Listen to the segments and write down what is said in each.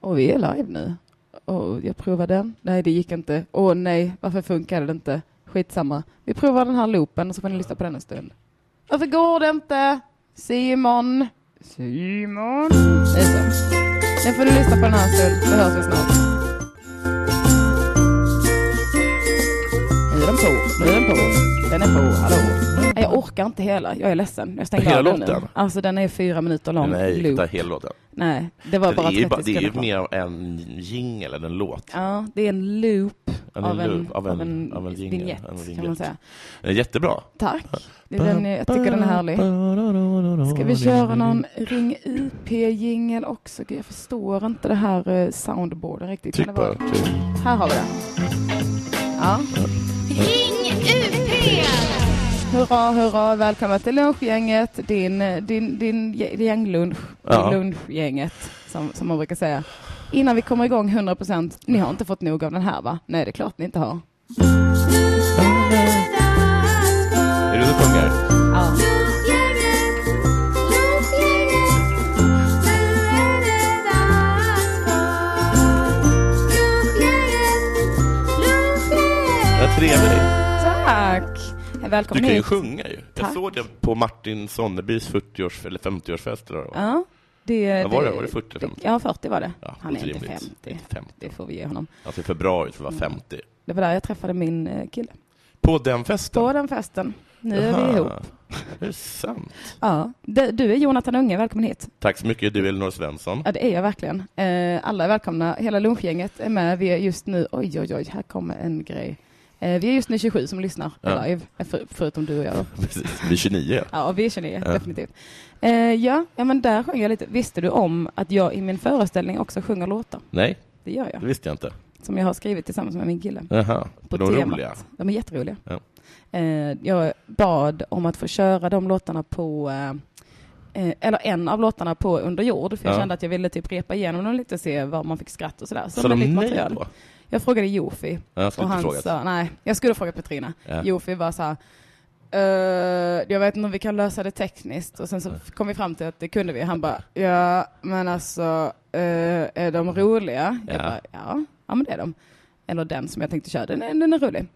och vi är live nu. Och jag provar den. Nej, det gick inte. Åh nej, varför funkade det inte? Skitsamma. Vi provar den här loopen och så får ni lyssna på den en stund. Varför går det inte? Simon! Simon! Det är så. Nu får du lyssna på den här en stund, så hörs vi snart. Nu är den på, nu är den på, den är på, hallå. Nej, jag orkar inte hela, jag är ledsen. Jag stängde Hela av den nu. låten? Alltså den är fyra minuter lång Nej, loop. det är hela låten. Nej, det var det bara är ju, 30 bara- det är ju sekunder kvar. mer en jingel än en låt. Ja, det är en loop En av, en, loop, av en, av en jingle, vignett, av en kan man vignett. säga. Den är jättebra. Tack. Den, är- jag tycker den är härlig. Ska vi köra någon Ring IP-jingel också? Gud, jag förstår inte det här eh, soundboarden riktigt. Tryck Kan det på vara- den. Tryck. Här har vi den. Ja. Ring UP! Hurra, hurra, välkomna till lunchgänget. Din, eh, din, din gä- gänglunch, Ja. lunchgänget, som, som man brukar säga. Innan vi kommer igång 100 procent, ni har inte fått nog av den här va? Nej, det är klart ni inte har. Är du ute och sjunger? Ja. Vad trevligt. Tack! Du Välkommen kan ju hit. sjunga ju. Jag Tack. såg det på Martin Sonnebys 40-års eller 50-årsfest. Eller vad det var. Ja, det, Vad var det? Var det 40 eller 50? Ja, 40 var det. Ja, Han är inte orimligt. 50. Inte 50. Det får vi ge honom. Han ser för bra ut för att vara 50. Det var där jag träffade min eh, kille. På den festen? På den festen. Nu är vi Aha. ihop. Är det sant? Ja. Det- Du är Jonathan Unge, välkommen hit. Tack så mycket, du Elinor Svensson. Ja, det är jag verkligen. Eh, Alla är välkomna. Hela lunchgänget är med. Vi är just nu, oj, oj, oj, här kommer en grej. Eh, Vi är just nu 27 som lyssnar Ja. live, eh, för, förutom du och jag. då. Precis. Vi är 29. Ja, vi känner er, Ja. definitivt. Eh, ja, ja, men där sjöng jag lite. Visste du om att jag i min föreställning också sjunger låtar? Nej, Det gör jag. det visste jag inte. Som jag har skrivit tillsammans med min kille. Jaha, är de roliga? De är jätteroliga. Ja. Eh, jag bad om att få köra de låtarna på, eh, eh, eller en av låtarna på Under jord, för jag Ja. kände att jag ville typ repa igenom dem lite och se var man fick skratt och sådär. Så Sa med de mitt nej material. då? Jag frågade Jofi Jag skulle och inte han frågat. sa, nej, jag skulle ha frågat Petrina. Ja. Jofi var så här, "Eh, jag vet inte om vi kan lösa det tekniskt och sen så kom vi fram till att det kunde vi. Han bara, ja men alltså eh, är de roliga? Jag Ja. bara, ja, ja men det är de. Eller den som jag tänkte köra, den är, den är rolig.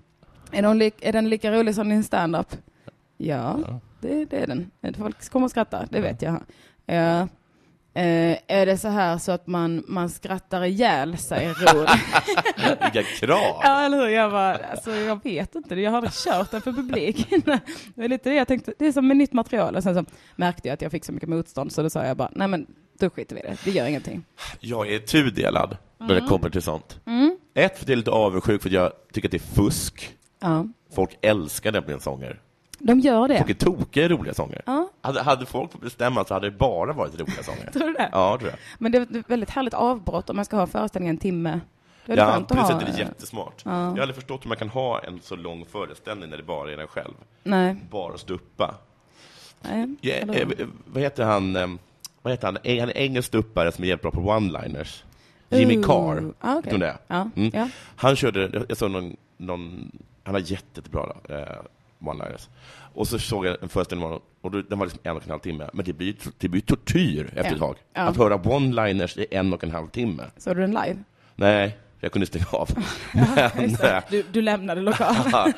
Är, de lik, är den lika rolig som din standup? Ja, Ja. Det, det är den. Folk kommer att skratta, det vet jag. Ja. Eh, är det så här så att man, man skrattar ihjäl sig roligt? Vilka krav! Ja, eller hur? Jag bara, alltså jag vet inte, jag har aldrig kört den för publik. det var lite det jag tänkte, det är som med nytt material. Och sen så märkte jag att jag fick så mycket motstånd så då sa jag bara, nej men då skiter vi i det, det gör ingenting. Jag är tudelad Mm. när det kommer till sånt. Ett, för att jag är lite avundsjuk för att jag tycker att det är fusk. Ja, Folk älskar nämligen sånger. de gör det. Folk är tokiga i roliga sånger. Ja. Hade, hade folk fått bestämma så hade det bara varit roliga sånger. Tror du det? Ja, tror jag. Men det är ett väldigt härligt avbrott om man ska ha föreställningen en timme. Då är det Ja, skönt på att det ha, sättet är det eh, jättesmart. Jag har aldrig förstått hur man kan ha en så lång föreställning när det bara är den själv. Nej, Bara att stå uppa. nej. Ja, Eller- eh, eh, vad heter han? eh, Vad heter han? Eh, han är engelsk ståuppare som är jävligt bra på one-liners. Jimmy Ooh. Carr. Ah, Vet du okej. vem det är? Ja, Mm. ja. Han körde, jag såg någon, någon han har jätte, jättebra eh, one-liners. Och så såg jag en föreställning med honom, och då- den var liksom en och en halv timme. Men det blir ju det blir ju tortyr efter Ja. ett tag. Ja. Att höra one-liners i en och en halv timme. Såg du den live? Nej, jag kunde stänga av. Men, eh, Du, du lämnade lokalen.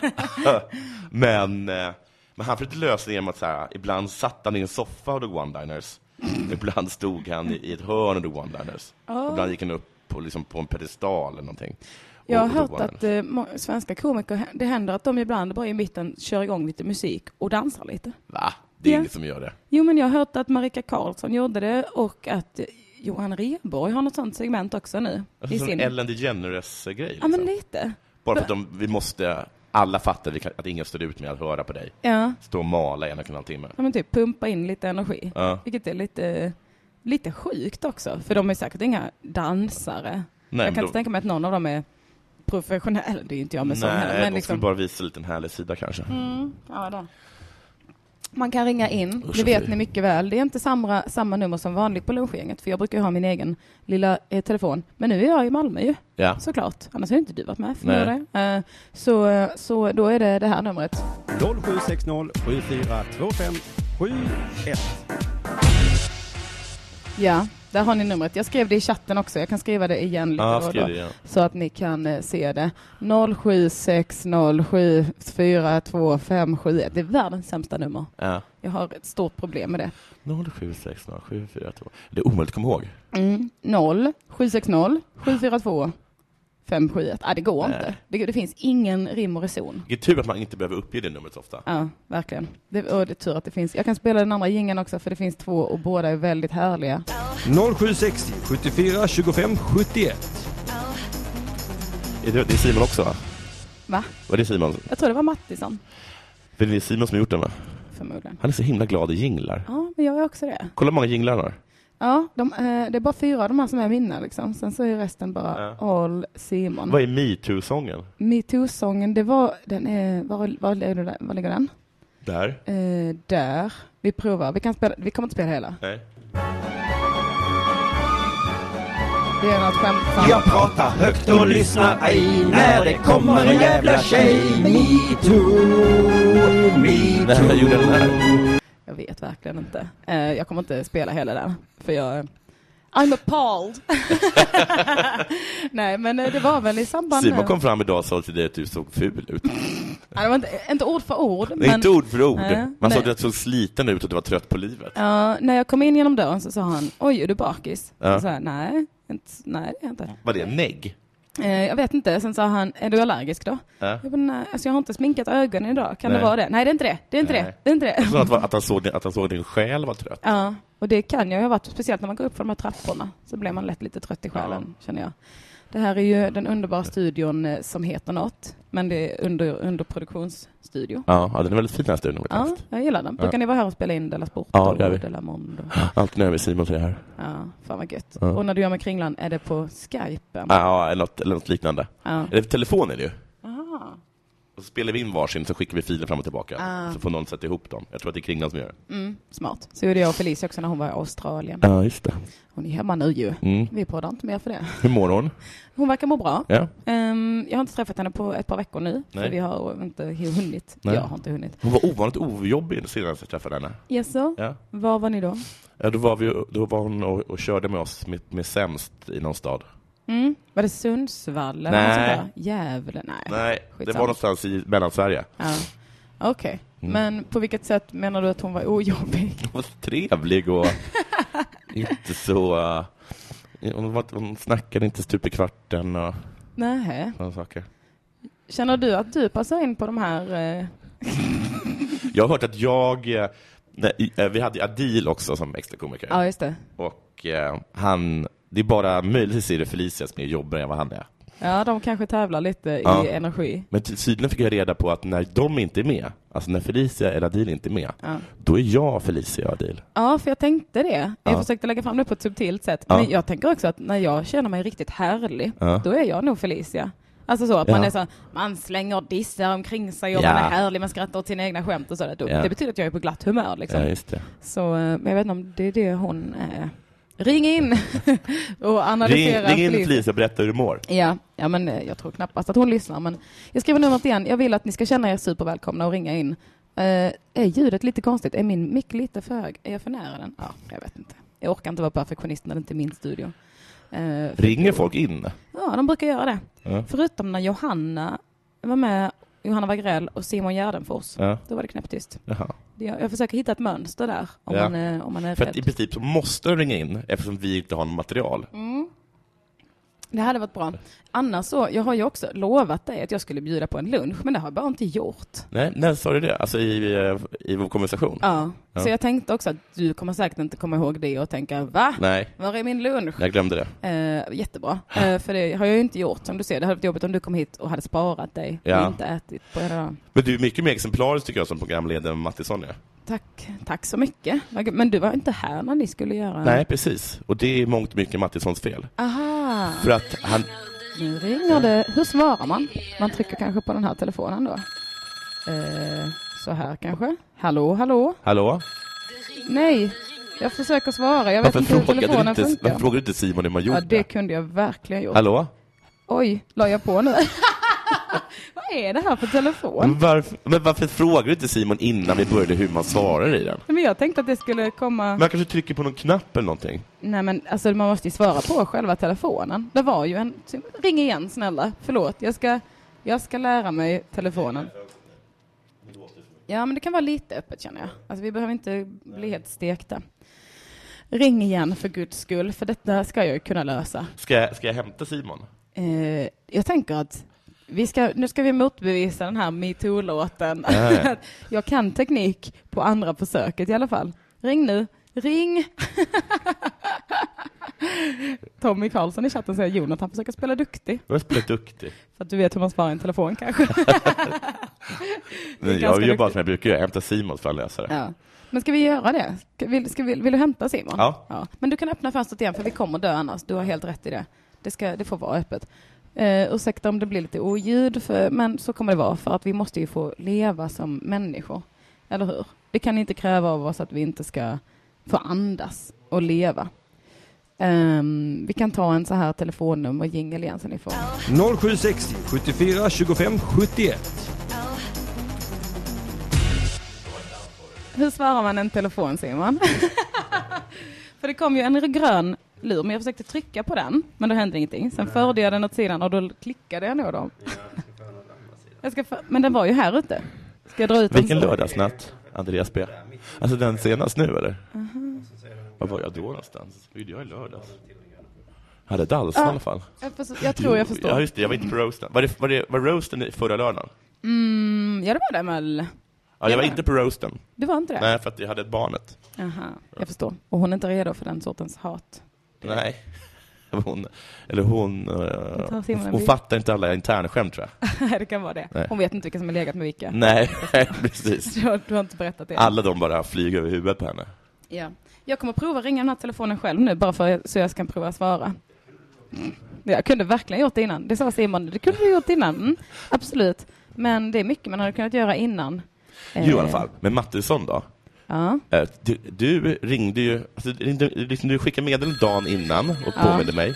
men, eh, men han försökte lösa det genom att så här, ibland satt han i en soffa och drog one-liners. Ibland stod han i- i ett hörn och drog one-liners. Ah. Ibland gick han upp på, liksom, på en pedestal eller någonting. och- Jag har och drog hört one-liners. att eh, må- svenska komiker, det händer att de ibland bara i mitten kör igång lite musik och dansar lite. Va? Det är Ja. ingen som gör det. Jo, men jag har hört att Marika Karlsson gjorde det och att eh, Johan Rheborg har något sånt segment också nu. Alltså, I som sin... Ellen DeGeneres-grej. Ja, Liksom. men lite. Bara för att de, vi måste, alla fattar vi kan, att ingen står ut med att höra på dig. Ja. Stå och mala i en och en halv timme. ja, men typ pumpa in lite energi. Ja. Vilket är lite, lite sjukt också, för de är säkert inga dansare. Nej, jag men kan de- inte tänka mig att någon av dem är professionell, Eller, det är ju inte jag med sån heller. Nej, Men de liksom... Mm. skulle bara visa lite en härlig sida kanske. Ja, det. Man kan ringa in, Usch, det vet fy. ni mycket väl. Det är inte samma, samma nummer som vanligt på lunchgänget, för jag brukar ju ha min egen lilla eh, telefon. Men nu är jag i Malmö ju, Ja. såklart. Annars har ju inte du varit med, Nej. förmodar jag. Eh, så, så då är det det här numret. 0760 7425 71. Ja, Där har ni numret. Jag skrev det i chatten också. Jag kan skriva det igen lite Ja, då och skriv då. det igen. Så att ni kan eh, se det. 0760742571. Det är världens sämsta nummer. Ja. Jag har ett stort problem med det. 0760742742. Det är omöjligt att komma ihåg. Mm. 0 760 742 571. Ah, det går Nej. inte. Det, det finns ingen rim och reson. Vilken tur att man inte behöver uppge det numret så ofta. Ja, verkligen. Det, och det är tur att det finns. Jag kan spela den andra jingeln också för det finns två och båda är väldigt härliga. 0760 74 25 71. Är Det det är Simon också va? Va? Var det Simon? Jag tror det var Mattisson, För det är Simon som har gjort den va? förmodligen. Han är så himla glad i jinglar. Ja, men jag är också det. Kolla hur många jinglar han har. Ja, de, eh, det är bara fyra av de här som är mina liksom. Sen så är resten bara all Simon. Vad är metoo-sången? Metoo-sången, det var, den är, var, var, ligger den? var ligger den? Där? Eh, där. Vi provar, vi kan spela, vi kommer inte spela hela. Nej. Det är något skämt. Jag pratar högt och lyssnar ej när det kommer en jävla tjej Metoo, Vem metoo gjorde den här? Jag vet verkligen inte. Eh, jag kommer inte spela hela den, för jag... I'm appalled! Nej, men eh, det var väl i samband Simon med... kom fram idag och sa till dig att du såg ful ut. Ja, det var inte, inte ord för ord, Det är men... inte ord för ord. Nej, Man sa men- att du såg sliten ut och att du var trött på livet. Ja, när jag kom in genom dörren så sa han, oj, är du bakis? Ja. Jag sa, nej, inte, nej det är jag inte. Var det negg? Eh, jag vet inte, sen sa han, är du allergisk då? Ja. Jag bara, nej, alltså jag har inte sminkat ögonen idag, kan Nej. det vara det? Nej, det är inte det, det är inte Nej. det, det är inte det. Så att, att, han såg, att han såg din själ var trött. Ja, och det kan jag ju ha varit, speciellt när man går upp för de här trapporna, så blir man lätt lite trött i själen, känner jag. Det här är ju den underbara studion eh, som heter något, men det är under, under produktionsstudio. Ja, ja den är väldigt fin den här studion. Ja, Ja. jag gillar den. Brukar ni vara här och spela in Della Sport Ja, och det gör vi. Della Mondo? Allt nu är med Simon till det här. Ja, fan vad gött. Ja. Och när du gör med kringlan, är det på skypen? Ja, eller något, eller något liknande. Ja. Eller telefon är det ju. Aha. Och så spelar vi in varsin, så skickar vi filer fram och tillbaka. Så får någon sätta ihop dem. Jag tror att det är Kringlan som gör det. Mm, Smart. Så gjorde jag och Felicia också när hon var i Australien. Ja, just det. Hon är hemma nu ju. Mm. Vi poddar inte mer för det. Hur mår hon? Hon verkar må bra. Ja. Ehm, jag har inte träffat henne på ett par veckor nu. För Nej. vi har inte hunnit. Nej. Jag har inte hunnit. Hon var ovanligt ojobbig senast jag träffade henne. Jaså? Ja. Var var ni då? Ja, då, var vi, då var hon och, och körde med oss med, med sämst i någon stad. Mm. Var det Sundsvall? eller Nej. något sånt där? Gävle? Nej. Nej, det Skitsamma. var någonstans i Mellansverige. Ja. Okej. Mm. Men på vilket sätt menar du att hon var ojobbig? Hon var så trevlig och inte så... eh, hon, var, hon snackade inte stup i kvarten och Nej. sådana saker. Känner du att du passar in på de här... eh, Jag har hört att jag... eh, Nej, i- eh, vi hade ju Adil också som extra komiker. Ja, just det. Och eh, han... Det är bara möjligtvis är det Felicia som är jobbigare än vad han är. Ja, de kanske tävlar lite Ja. i energi. Men ty- tydligen fick jag reda på att när de inte är med, alltså när Felicia eller Adil inte är med, Ja. då är jag Felicia och Adil. Ja, för jag tänkte det. Jag Ja. försökte lägga fram det på ett subtilt sätt. Ja. Men jag tänker också att när jag känner mig riktigt härlig, Ja. då är jag nog Felicia. Alltså så att man Ja. är så, man slänger dissar omkring sig och Ja. man är härlig, man skrattar åt sina egna skämt och sådär. Då, Ja. Det betyder att jag är på glatt humör liksom. Ja, just det. Så, eh, men jag vet inte om det är det hon är. Ring in och Ring, analysera ring in Felicia. Felicia, berätta hur du mår. Ja, ja, men eh, jag tror knappast att hon lyssnar. Men jag skriver numret igen. Jag vill att ni ska känna er supervälkomna och ringa in. Eh, är ljudet lite konstigt? Är min mick lite för hög? Är jag för nära den? Ja, jag vet inte. Jag orkar inte vara perfektionist när det inte är min studio. Eh, för- Ringer folk in? Ja, de brukar göra det. Ja. Förutom när Johanna var med, Johanna Wagrell och Simon Gärdenfors. Ja. Då var det knäpptyst. Jaha. Det- Jag, jag försöker hitta ett mönster där, om, Ja. man, eh, om man är För att i rädd. princip så måste de ringa in eftersom vi inte har något material. Mm. Det hade varit bra. Annars så, jag har ju också lovat dig att jag skulle bjuda på en lunch, men det har jag bara inte gjort. Nej, när sa du det? Alltså i, eh, i vår konversation? Ja. Ja. så jag tänkte också att du kommer säkert inte komma ihåg det och tänka va? Nej, Var är min lunch? jag glömde det. Eh, jättebra, eh, för det har jag ju inte gjort som du ser. Det hade varit jobbigt om du kom hit och hade sparat dig Ja. och inte ätit på hela dagen. Men du är mycket mer exemplarisk tycker jag som programledare än Mattisson är. Tack, tack så mycket. Vad gud, Men du var inte här när ni skulle göra... Nej, precis. Och det är i mångt och mycket Mattissons fel. Aha, För att han... nu ringer det. Hur svarar man? Man trycker kanske på den här telefonen då. Eh, så här kanske. Hallå, hallå? Hallå? Nej, jag försöker svara. Jag vet Varför inte hur frågade, du telefonen inte, varför funkar. frågade du inte Simon hur man gjorde? Ja, det kunde jag verkligen gjort. Hallå? Oj, la jag på nu? Vad är det här för telefon? Men varför, men varför frågar du inte Simon innan vi började hur man svarar i den? Men jag tänkte att det skulle komma... Man kanske trycker på någon knapp eller någonting. Nej men alltså man måste ju svara på själva telefonen. Det var ju en... Ring igen snälla. Förlåt. Jag ska, jag ska lära mig telefonen. Ja men det kan vara lite öppet känner jag. Alltså vi behöver inte bli helt stekta. Ring igen för guds skull. För detta ska jag ju kunna lösa. Ska jag, ska jag hämta Simon? Eh, jag tänker att vi ska, nu ska vi motbevisa den här metoo-låten. Nej. jag kan teknik på andra försöket i alla fall. Ring nu. Ring! Tommy Karlsson i chatten säger Jonathan försöker spela duktig. Jag spelar duktig. För att du vet hur man sparar en telefon kanske. Men ganska jag gör bara duktigt. som jag brukar göra, jag hämtar Simon för att lösa det. ja. Men ska vi göra det? Ska, vill, ska, vill, vill du hämta Simon? Ja. Men du kan öppna fönstret igen för vi kommer dö annars. Du har helt rätt i det. Det, ska, det får vara öppet. Eh, ursäkta om det blir lite oljud, för, men så kommer det vara för att vi måste ju få leva som människor. Eller hur? Det kan inte kräva av oss att vi inte ska få andas och leva. Ehm, vi kan ta en så här telefonnummer jingel igen så ni får. 0760 74 25 71. Hur svarar man en telefon Simon? För det kom ju en grön lur, men jag försökte trycka på den, men då hände ingenting. Sen förde jag den åt sidan och då klickade jag nog dem. Jag ska för... Men den var ju här ute. Ska jag dra ut den? Vilken lördagsnatt, Andreas B? Alltså den senast nu eller? Uh-huh. Var var jag då någonstans? Vad gjorde jag i lördags? Jag hade dans i alla fall. Jag, förs- jag tror jag förstår. Ja, just det, jag var inte på roasten. Var, det, var, det, var roasten i förra lördagen? Mm, ja, det var den väl. Ja, jag var Ja. inte på roasten. Det var inte det? Nej, för att jag hade barnet. Aha, jag förstår. Och hon är inte redo för den sortens hat. Nej. Hon, eller hon, eh, tar Simon en hon bild. fattar inte alla internskämt tror jag. Nej, det kan vara det. Nej. Hon vet inte vilka som har legat med vilka. Nej, precis. Du har, du har inte berättat det. Alla de bara flyger över huvudet på henne. Ja. Jag kommer prova ringa den här telefonen själv nu bara för så jag ska prova svara. Mm. Jag kunde verkligen gjort det innan. Det sa Simon, det kunde du gjort innan. Mm, absolut. Men det är mycket man hade kunnat göra innan. Eh, Jo, i alla fall. Men Mattisson då? Ja. Eh, Du, du ringde ju, alltså, du ringde, liksom, du skickade meddelande dagen innan och påminde mig.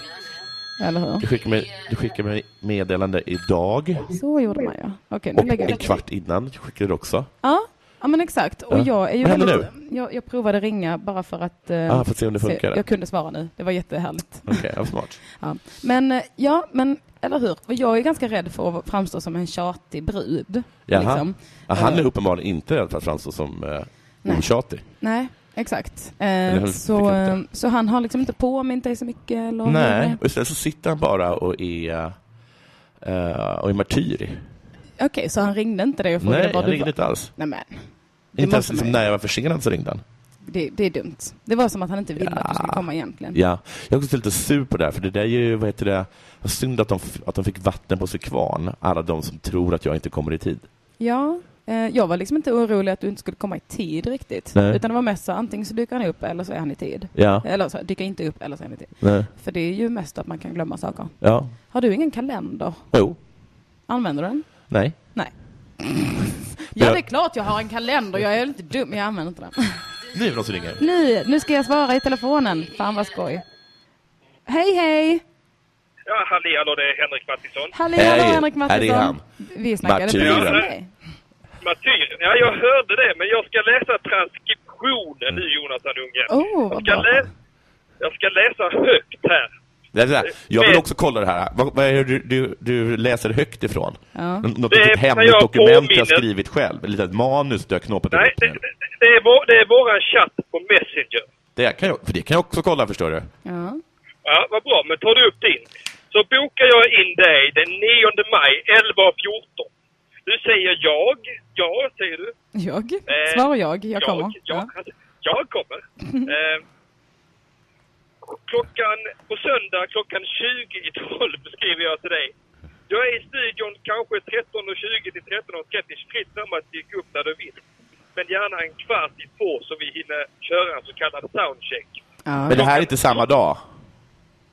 Eller Du hur? skickade, med, du skickade med meddelande idag Så gjorde man ja. Okej, nu och lägger en jag kvart innan skickade du också. Ja, ja men exakt. Och Ja. jag är ju Vad händer Jag, jag provade ringa bara för att... eh, Ah, för att se om det se- funkade. Jag kunde svara nu. Det var jättehärligt. Okej, ja, smart. Ja. Men eh, ja, men eller hur? Och jag är ganska rädd för att framstå som en tjatig brud. Jaha. liksom. Ja, han är Eh. uppenbarligen inte rädd för att framstå som eh, Nej. otjatig. Nej, exakt. Eller Eh, han så, fick eh, upp så han har liksom inte påmint dig så mycket? Eller hur Nej, det- och istället så sitter han bara och är, eh, och är martyr. Okej, så han ringde inte dig och frågade Nej, var han du ringde var? inte alls. Nej, men. Det, Inte ens måste man liksom, ju- när jag var försenad så ringde han. det, det är dumt. Det var som att han inte ville att du skulle Ja. komma egentligen. Ja, jag är också lite sur på det här, för det där är ju, vad heter det, vad synd att de, f- att de fick vatten på sin kvarn, alla de som tror att jag inte kommer i tid. Ja, eh, jag var liksom inte orolig att du inte skulle komma i tid riktigt. Nej. Utan det var mest så antingen så dyker han upp eller så är han i tid. Ja, Eller så dyker inte upp eller så är han i tid. nej, För det är ju mest att man kan glömma saker. ja, Har du ingen kalender? jo, Använder du den? nej. Nej. Ja, Jag- det är klart jag har en kalender. Jag är inte dum, jag använder inte den. Nu är det någon som ringer. Nu, nu ska jag svara i telefonen. Fan vad skoj. Hej hej! Ja, halli hallå, det är Henrik Mattisson. Halli Hej. hallå Henrik Här är Mattisson. han. Vi snackade Martyren. precis om dig. Martyr. Ja, jag hörde det, men jag ska läsa transkriptionen nu, Jonathan Unge. Oh, vad jag, ska bra. läsa, jag ska läsa högt här. Det är så här, Jag vill också kolla det här. Vad, vad är det du, du, du läser högt ifrån? Ja. N- Något Det litet är- hemligt jag dokument du har påminner- skrivit själv? Ett litet manus du har knåpat Nej, ihop det, nu? det, det, är vår, det är våran chatt på Messenger. Det kan jag, för det kan jag också kolla, förstår du. Ja. Ja, vad bra. Men tar du upp din? Så bokar jag in dig den 9 maj 11.14. Du säger jag. Ja, säger du. Jag? Eh, Svarar jag. Jag kommer. Jag, Ja. jag, jag kommer. eh, klockan, på söndag klockan 20 i 12 skriver jag till dig. Jag är i studion kanske 13.20 till 13.30. Fritt fram att dyka upp när du vill. Men gärna en kvart i två så vi hinner köra en så kallad soundcheck. Men Ja. det här är inte samma dag.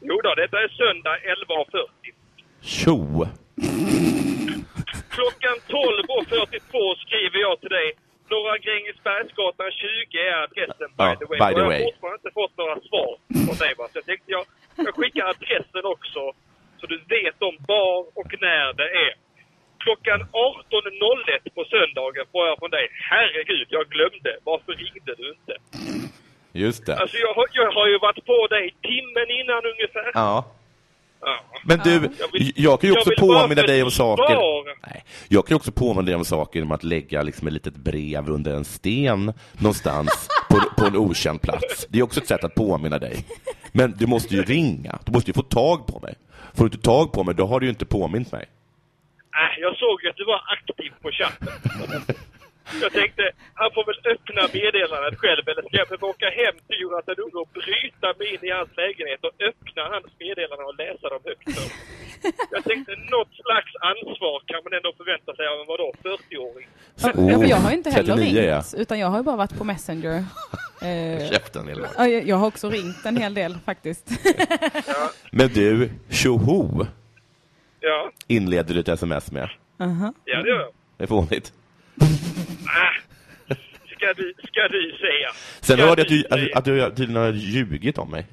Jo då, detta är söndag 11.40. Tjo! Klockan 12.42 skriver jag till dig. Norra Grängesbergsgatan 20 är adressen by Ja, the way. by the Och way. Jag har fortfarande inte fått några svar från dig va. Så jag tänkte jag, jag skickar adressen också. Så du vet om var och när det är. Filip, jag glömde. Varför ringde du inte? Just det. Alltså jag, har- jag har ju varit på dig timmen innan ungefär. Ja. Ja. Men du, Jag vill- jag kan ju jag också vill bara påminna dig om saker. försvara. Nej, jag kan ju också påminna dig om saker genom att lägga liksom ett litet brev under en sten någonstans på, på en okänd plats. Det är också ett sätt att påminna dig. Men du måste ju ringa. Du måste ju få tag på mig. Får du inte tag på mig, då har du ju inte påmint mig. Äh, jag såg ju att du var aktiv på chatten. Jag tänkte, han får väl öppna meddelandet själv eller ska jag behöva åka hem till Jonathan Unge och bryta mig in i hans lägenhet och öppna hans meddelanden och läsa dem högt för honom? Jag tänkte, något slags ansvar kan man ändå förvänta sig av en vadå, 40-åring? Ja, för jag har ju inte heller 39 Oh, är jag. ringt, utan jag har ju bara varit på Messenger. Eh, Käften, Elin. ja, jag jag har också ringt en hel del faktiskt. Men du, tjoho, Ja, inleder du ett sms med. ja det gör jag. Ah, Det är fånigt. Ska du, ska du säga. Sen Ska hörde jag att du, säga. att, att du tydligen har ljugit om mig.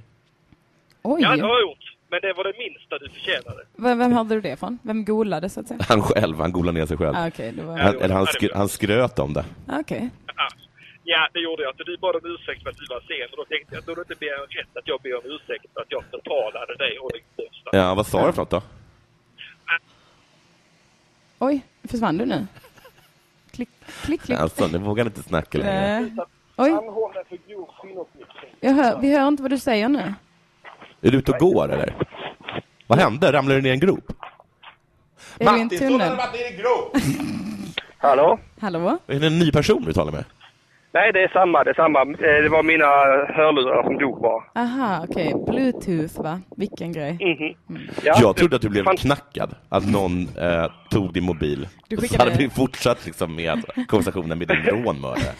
Oj, Ja, det har jag gjort. Men det var det minsta du förtjänade. vem, vem hade du det från? Vem golade så att säga? Han själv, han golade ner sig själv. Ah, Okej, det var... Han, eller han, skr, han skröt om det. ah, okej. Ah, Ja, det gjorde jag. Så du bad om ursäkt för att du var sen. Och då tänkte jag, då är det inte mer än rätt att jag ber om ursäkt för att jag förtalade dig och din största. Ja, vad sa du för något då? Oj, försvann du nu? Klick, klick, klick. Alltså, nu vågar han inte snacka längre. Nej. Oj, Anhållen för grov kvinnoförnedring. jag hör, vi hör inte vad du säger nu. Är du ute och går eller? Vad hände? Ramlade du ner i en grop? Är du i en tunnel? ner i en grop! Hallå? Hallå? Är det en ny person du talar med? Nej, det är samma, det är samma. Eh, Det var mina hörlurar som dog bara. Aha, okej. Bluetooth va? Vilken grej. Mhm. Ja. Jag trodde att du blev Fan. knackad, att någon eh, tog din mobil. Du Och så skickade- hade vi fortsatt liksom, med konversationen med din rånmördare.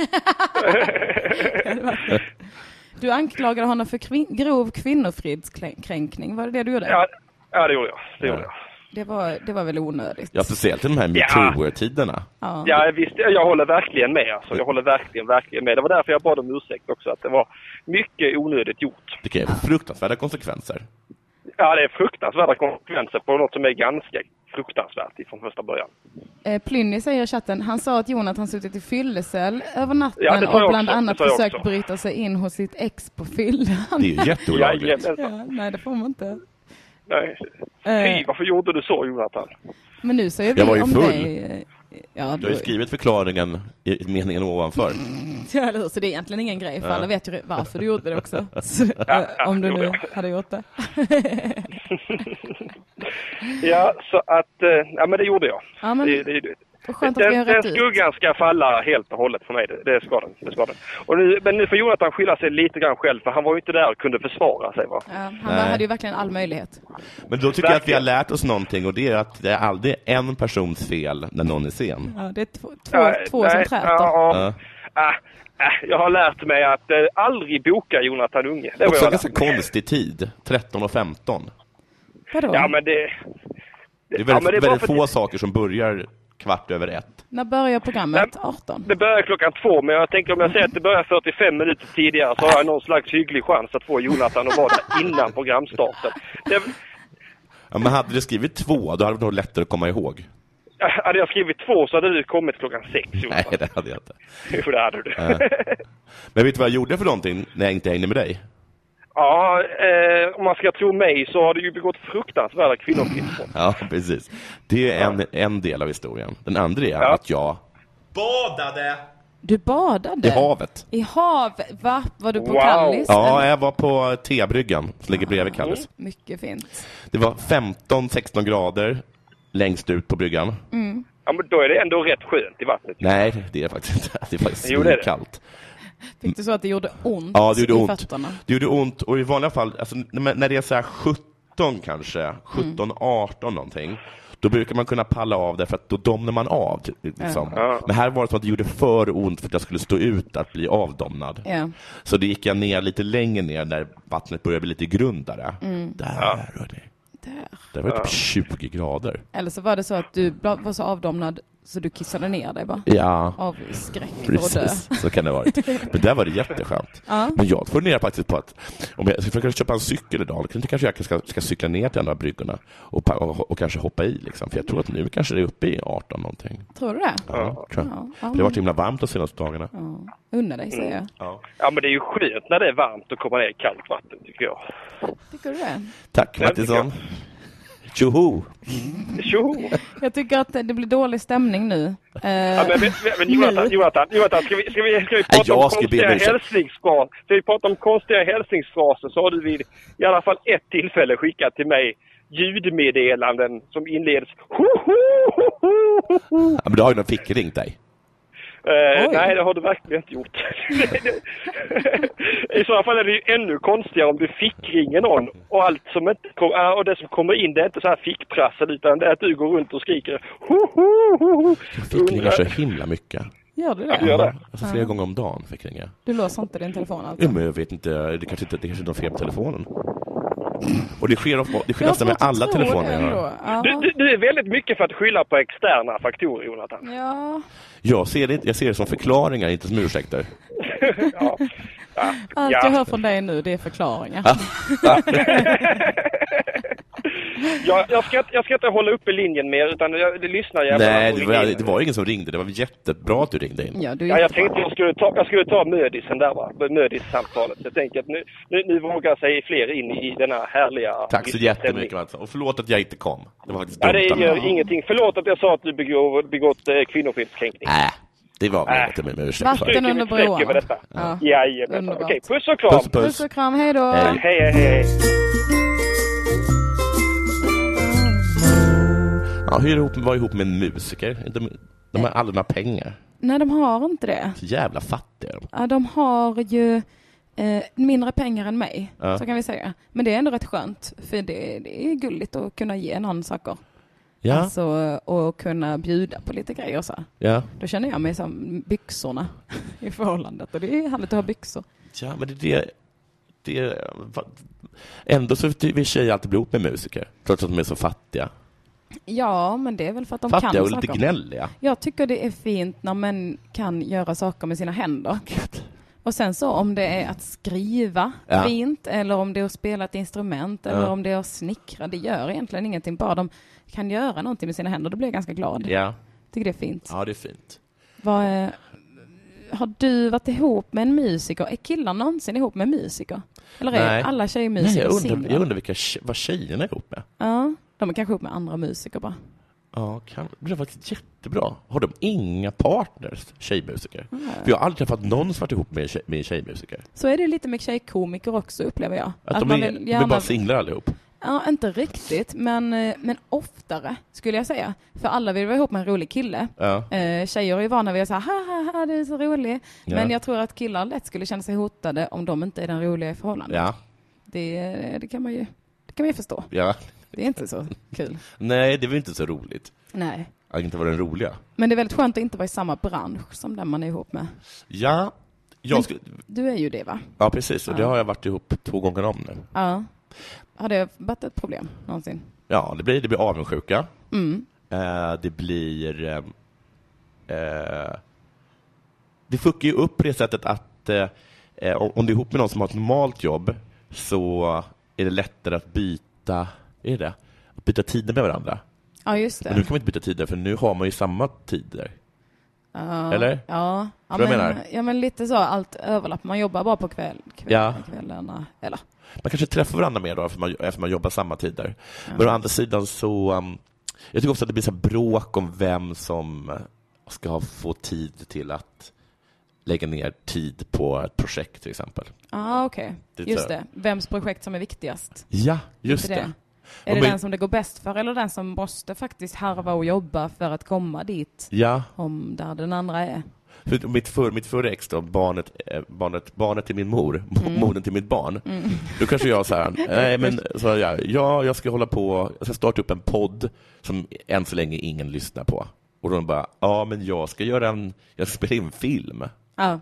Du anklagade honom för kvin- grov kvinnofridskränkning, var det det du gjorde? Ja, ja, det gjorde jag. Det gjorde jag. Det, var, det var väl onödigt? Ja, speciellt i de här metoo-tiderna. Ja. Ja, visst, jag håller verkligen med. Alltså. Jag håller verkligen, verkligen med. Det var därför jag bad om ursäkt också, att det var mycket onödigt gjort. Det kan ju få fruktansvärda konsekvenser. Ja, det är fruktansvärda konsekvenser på något som är ganska fruktansvärt från första början. Eh, Plynny säger i chatten, han sa att Jonathan suttit i fyllecell över natten Ja, det sa jag och bland också, annat det sa jag försökt också. bryta sig in hos sitt ex på fyllan. Det är ju jätteolagligt. Jajamensan. Ja, nej, det får man inte. Nej. Fy, Eh, varför gjorde du så, Jonathan? men nu säger vi Jag var ju om full. dig... eh, Ja, Du har ju du, skrivit förklaringen i meningen ovanför. ja, eller hur? Så det är egentligen ingen grej, för alla vet ju varför du gjorde det också. Så, eh, om du nu hade gjort det. Ja, så att, eh, ja men det gjorde jag. Ja, men- det, det, det. Och skönt att vi Den, har den rätt ut. skuggan ska falla helt och hållet för mig. Det, det ska den. Det ska den. Och nu, men nu får Jonathan skylla sig lite grann själv för han var ju inte där och kunde försvara sig. Va? Ja, han var, Nej. hade ju verkligen all möjlighet. Men då tycker jag att vi har lärt oss någonting och det är att det är aldrig en persons fel när någon är sen. Ja, det är två, två, Nej, två som nej, träter. ja, Ja. ja, ja, jag har lärt mig att eh, aldrig boka Jonathan Unge. Det var Också jag en lärt ganska mig. konstig tid, 13 och 15. Vadå? Ja men det... Det är väldigt, men det är bara väldigt för- få saker som börjar kvart över ett. När börjar programmet? 18? Det börjar klockan två men jag tänker om jag säger att det börjar 45 minuter tidigare så har jag någon slags hygglig chans att få Jonathan att vara där innan programstarten. Det, Ja, men hade du skrivit två, då hade det varit lättare att komma ihåg. hade jag skrivit två så hade du kommit klockan sex Nej, Jonathan. det hade jag inte. Jo det hade du. Men vet du vad jag gjorde för någonting när jag inte hängde med dig? Ja, eh, om man ska tro mig så har du ju begått fruktansvärda kvinnofridsbrott. Ja, precis. Det är en, en del av historien. Den andra är Ja. att jag badade Du badade? i havet. I hav? Va? Var du på Wow. Kallis? Ja, Eller- jag var på T-bryggan som ligger bredvid Kallis. Mycket fint. Det var 15-16 grader längst ut på bryggan. Ja, men då är det ändå rätt skönt i vattnet. Nej, det är det faktiskt inte. Det är faktiskt Jo, det är det. kallt. Fick du så att det gjorde ont Ja, det gjorde i ont. fötterna? Det gjorde ont och i vanliga fall, alltså, när när det är så här 17 kanske, 17, Mm. 18 någonting, då brukar man kunna palla av det för att då domnar man av. ty- Liksom. Ja. Men här var det som att det gjorde för ont för att jag skulle stå ut att bli avdomnad. Ja. Så då gick jag ner lite längre ner när vattnet började bli lite grundare. Där, hörni. Mm. Där. Där var det typ 20 grader. Eller så var det så att du bla- var så avdomnad Så du kissade ner dig bara? Ja, Av skräck för att dö? precis. Så kan det ha varit. Men där var det jätteskönt. Ja. Men jag funderar faktiskt på att om jag ska försöka köpa en cykel idag, då kanske jag ska, ska cykla ner till andra bryggorna och, pa- och, och kanske hoppa i. Liksom. För jag tror att nu kanske det är uppe i 18 någonting. Tror du det? Ja, tror jag. Ja. Det har varit så himla varmt de senaste dagarna. Ja. Unna dig säger jag. Mm. Ja, men det är ju skönt när det är varmt och komma ner i kallt vatten, tycker jag. Tycker du det? Tack Ja, Mattisson. Tjoho! Tjoho! Jag tycker att det blir dålig stämning nu. Eh, Ja, men, men, men Jonathan, Jonathan, Jonathan, ska vi, ska vi, ska vi prata jag om ska be om konstiga ursäkt. hälsningsfraser? Ska vi prata om konstiga hälsningsfraser så har du vid i alla fall ett tillfälle skickat till mig ljudmeddelanden som inleds ho, ho, ho, ho, ho, ho. Ja, men du har ju någon fickring dig. Eh, Oj. Nej, det har du verkligen inte gjort. I så fall är det ju ännu konstigare om du fick ringa någon och allt som inte kom, ah, och det som kommer in det är inte så här fickprassel utan det är att du går runt och skriker ho, ho, ho, ho. Fickringar så himla mycket. Gör du Gör det? det. Alltså flera gånger om dagen fickringar. Du låser inte din telefon alltså? Ja, men jag vet inte, det kanske inte, det kanske inte är fel på telefonen. Och det sker, ofta, det sker Jag har nästan med svårt att alla tro telefoner det jag ändå. har. Ja. Du, du, du är väldigt mycket för att skylla på externa faktorer, Jonathan. Ja, Jag ser, det, inte- jag ser det som förklaringar, inte som ursäkter. Ja. Ja. allt jag Ja. hör från dig nu det är förklaringar. Jag, jag, ska, inte- jag ska inte hålla uppe linjen mer, utan jag, jag lyssnar gärna. Nej, och det ringer var, in. det var ingen som ringde. Det var jättebra att du ringde in. Ja, du är Ja, jag jättebra. tänkte jag skulle ta, jag skulle ta mödisen där va, mödissamtalet. Jag tänker att nu, nu, nu vågar sig fler in i denna härliga... Tack så jättemycket stämning. Mats. Och förlåt att jag inte kom. Det var faktiskt Ja, dumt det av mig. gör ingenting. Förlåt att jag sa att du begår, begått eh, kvinnofridskränkning. Nej, det var Nej. väl inte med ursäkt för. Vatten under Mycket streck broarna. över detta. Ja. Jajamensan. Underbart. Okej, puss och kram. Puss, Puss puss. och kram, hej då! Hej. Hej, hej, hej. Ja, hur ihop, var ihop med en musiker? De, de har aldrig några pengar. Nej, de har inte det. Så jävla fattiga de. Ja, de har ju eh, mindre pengar än mig, Ja. så kan vi säga. Men det är ändå rätt skönt, för det, det är gulligt att kunna ge någon saker. Ja, Alltså, och kunna bjuda på lite grejer så. här. ja. Då känner jag mig som byxorna i förhållandet. Och det är härligt att ha byxor. ja men det, det, det va, Ändå så vill tjejer alltid bli ihop med musiker, trots att de är så fattiga. Ja, men det är väl för att de Fattiga kan och lite saker. gnälliga. Jag tycker det är fint när män kan göra saker med sina händer. Och sen så om det är att skriva Ja. fint eller om det är att spela ett instrument eller Ja. om det är att snickra. Det gör egentligen ingenting. Bara de kan göra någonting med sina händer. Då blir jag ganska glad. Ja, Tycker det är fint. ja det är fint. Vad, eh, har du varit ihop med en musiker? Är killar någonsin ihop med musiker? Eller är Nej. alla tjejer Nej, musiker jag undrar, singlar? jag undrar vilka, tje- vad tjejerna är ihop med. Ja, de är kanske ihop med andra musiker bara. Ja, kan, det var faktiskt jättebra. Har de inga partners, tjejmusiker? För jag har aldrig träffat någon som varit ihop med en, tjej, med en tjejmusiker. Så är det lite med tjejkomiker också upplever jag. Att, de, man är, vill de är bara singlar allihop. Ja, inte riktigt, men, eh, men oftare skulle jag säga. För alla vill vara ihop med en rolig kille. Ja. Eh, Tjejer är ju vana vid att säga ha ha ha, du är så rolig. Ja. Men jag tror att killar lätt skulle känna sig hotade om de inte är den roliga i förhållandet. Ja, Det, eh, det kan man ju det kan man ju förstå. ja. Det är inte så kul. Nej, det var ju inte så roligt. Nej. Att inte vara den roliga. Men det är väldigt skönt att inte vara i samma bransch som den man är ihop med. Ja, jag skulle, Du är ju det va? ja precis. Och det har jag varit ihop två gånger om nu. Ja. Har det varit ett problem någonsin? Ja, det blir, det blir avundsjuka. Eh, det blir... ehm, eh, det fuckar ju upp på det sättet att eh, eh, om om du är ihop med någon som har ett normalt jobb så är det lättare att byta, är det? Att byta tider med varandra. Ja, just Men nu det. kan man inte byta tider för nu har man ju samma tider. Ja. Eller? Ja. ja Tror men, jag menar. ja, men lite så allt överlapp. Man jobbar bara på kväll, kväll, Ja. kvällarna. Eller? Man kanske träffar varandra mer då eftersom man, eftersom man jobbar samma tider. Men å andra sidan så ehm, Jag tycker ofta att det blir så här bråk om vem som ska få tid till att lägga ner tid på ett projekt till exempel. Ja, okej. Det Just tror det. Vems projekt som är viktigast? Ja, just Inte det. det. det. Är det men- den som det går bäst för eller den som måste faktiskt harva och jobba för att komma dit Ja, om där den andra är? för mitt, för, mitt förra ex då, barnet, eh, barnet, barnet till min mor, mm. modern till mitt barn. Mm. Då kanske jag så här, nej men så här, ja, ja, jag ska hålla på, jag ska starta upp en podd som än så länge ingen lyssnar på. Och de bara, ja men jag ska göra en, jag ska spela in film. Ja.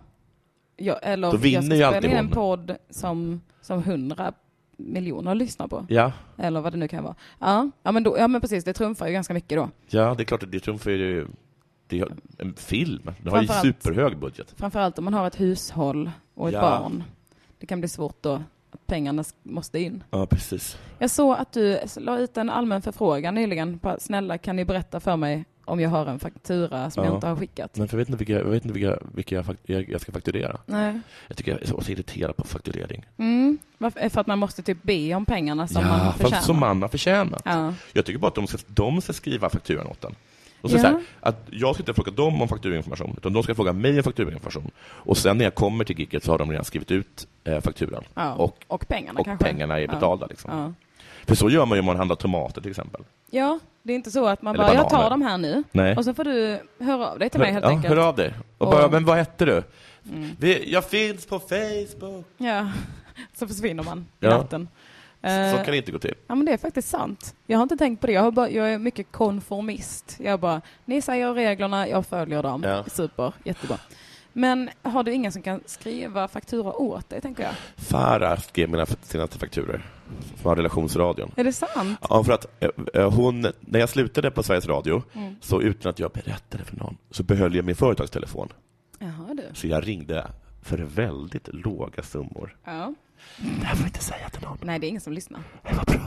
ja eller Då vinner jag ska ju spela alltid in en hon. podd som, som hundra miljoner lyssnar på. Ja, Eller vad det nu kan vara. Ja, ja, men, då, ja men precis, det trumfar ju ganska mycket då. ja det är klart att det trumfar ju Det är en film. Det har ju Framförallt- superhög budget. Framförallt om man har ett hushåll och ett Ja. barn. Det kan bli svårt då att pengarna s- måste in. Ja, precis. Jag såg att du la ut en allmän förfrågan nyligen. Bara, Snälla kan ni berätta för mig om jag har en faktura som Ja. jag inte har skickat? Men för jag vet inte vilka, jag, vet inte vilka, vilka jag, fakt- jag, jag ska fakturera. Nej. Jag tycker jag är så så irriterad på fakturering. Mm. Varför? För att man måste typ be om pengarna som man förtjänar. fast som man har förtjänat. Ja. Jag tycker bara att de ska, de ska skriva fakturan åt en. Och så Ja. så här, att jag ska inte fråga dem om fakturinformation, utan de ska fråga mig om fakturinformation. Och sen när jag kommer till giget så har de redan skrivit ut eh, fakturan. Ja. Och, Och, pengarna och kanske. pengarna är Ja. betalda. Liksom. Ja. För så gör man ju om man handlar tomater till exempel. ja, det är inte så att man Eller bara, jag bananer. tar de här nu. Nej. Och så får du höra av dig till mig helt ja, enkelt. Hör av dig. Och Och- Mm. bara, men vad hette du? Vi, jag finns på Facebook. Ja. Så försvinner man i Ja. natten. Så Eh, kan det inte gå till. Ja men det är faktiskt sant. Jag har inte tänkt på det. Jag, har bara, jag är mycket konformist. Jag bara, ni säger reglerna, jag följer dem. Ja. Super, jättebra. Men har du ingen som kan skriva faktura åt dig, tänker jag? Farah skrev mina, sina fakturor från relationsradion. Är det sant? Ja, för att eh, eh, hon, när jag slutade på Sveriges Radio, Mm. så utan att jag berättade för någon, så behöll jag min företagstelefon. Jaha du. Så jag ringde för väldigt låga summor. Ja. Det här får jag inte säga till någon. Nej, det är ingen som lyssnar. Det var bra.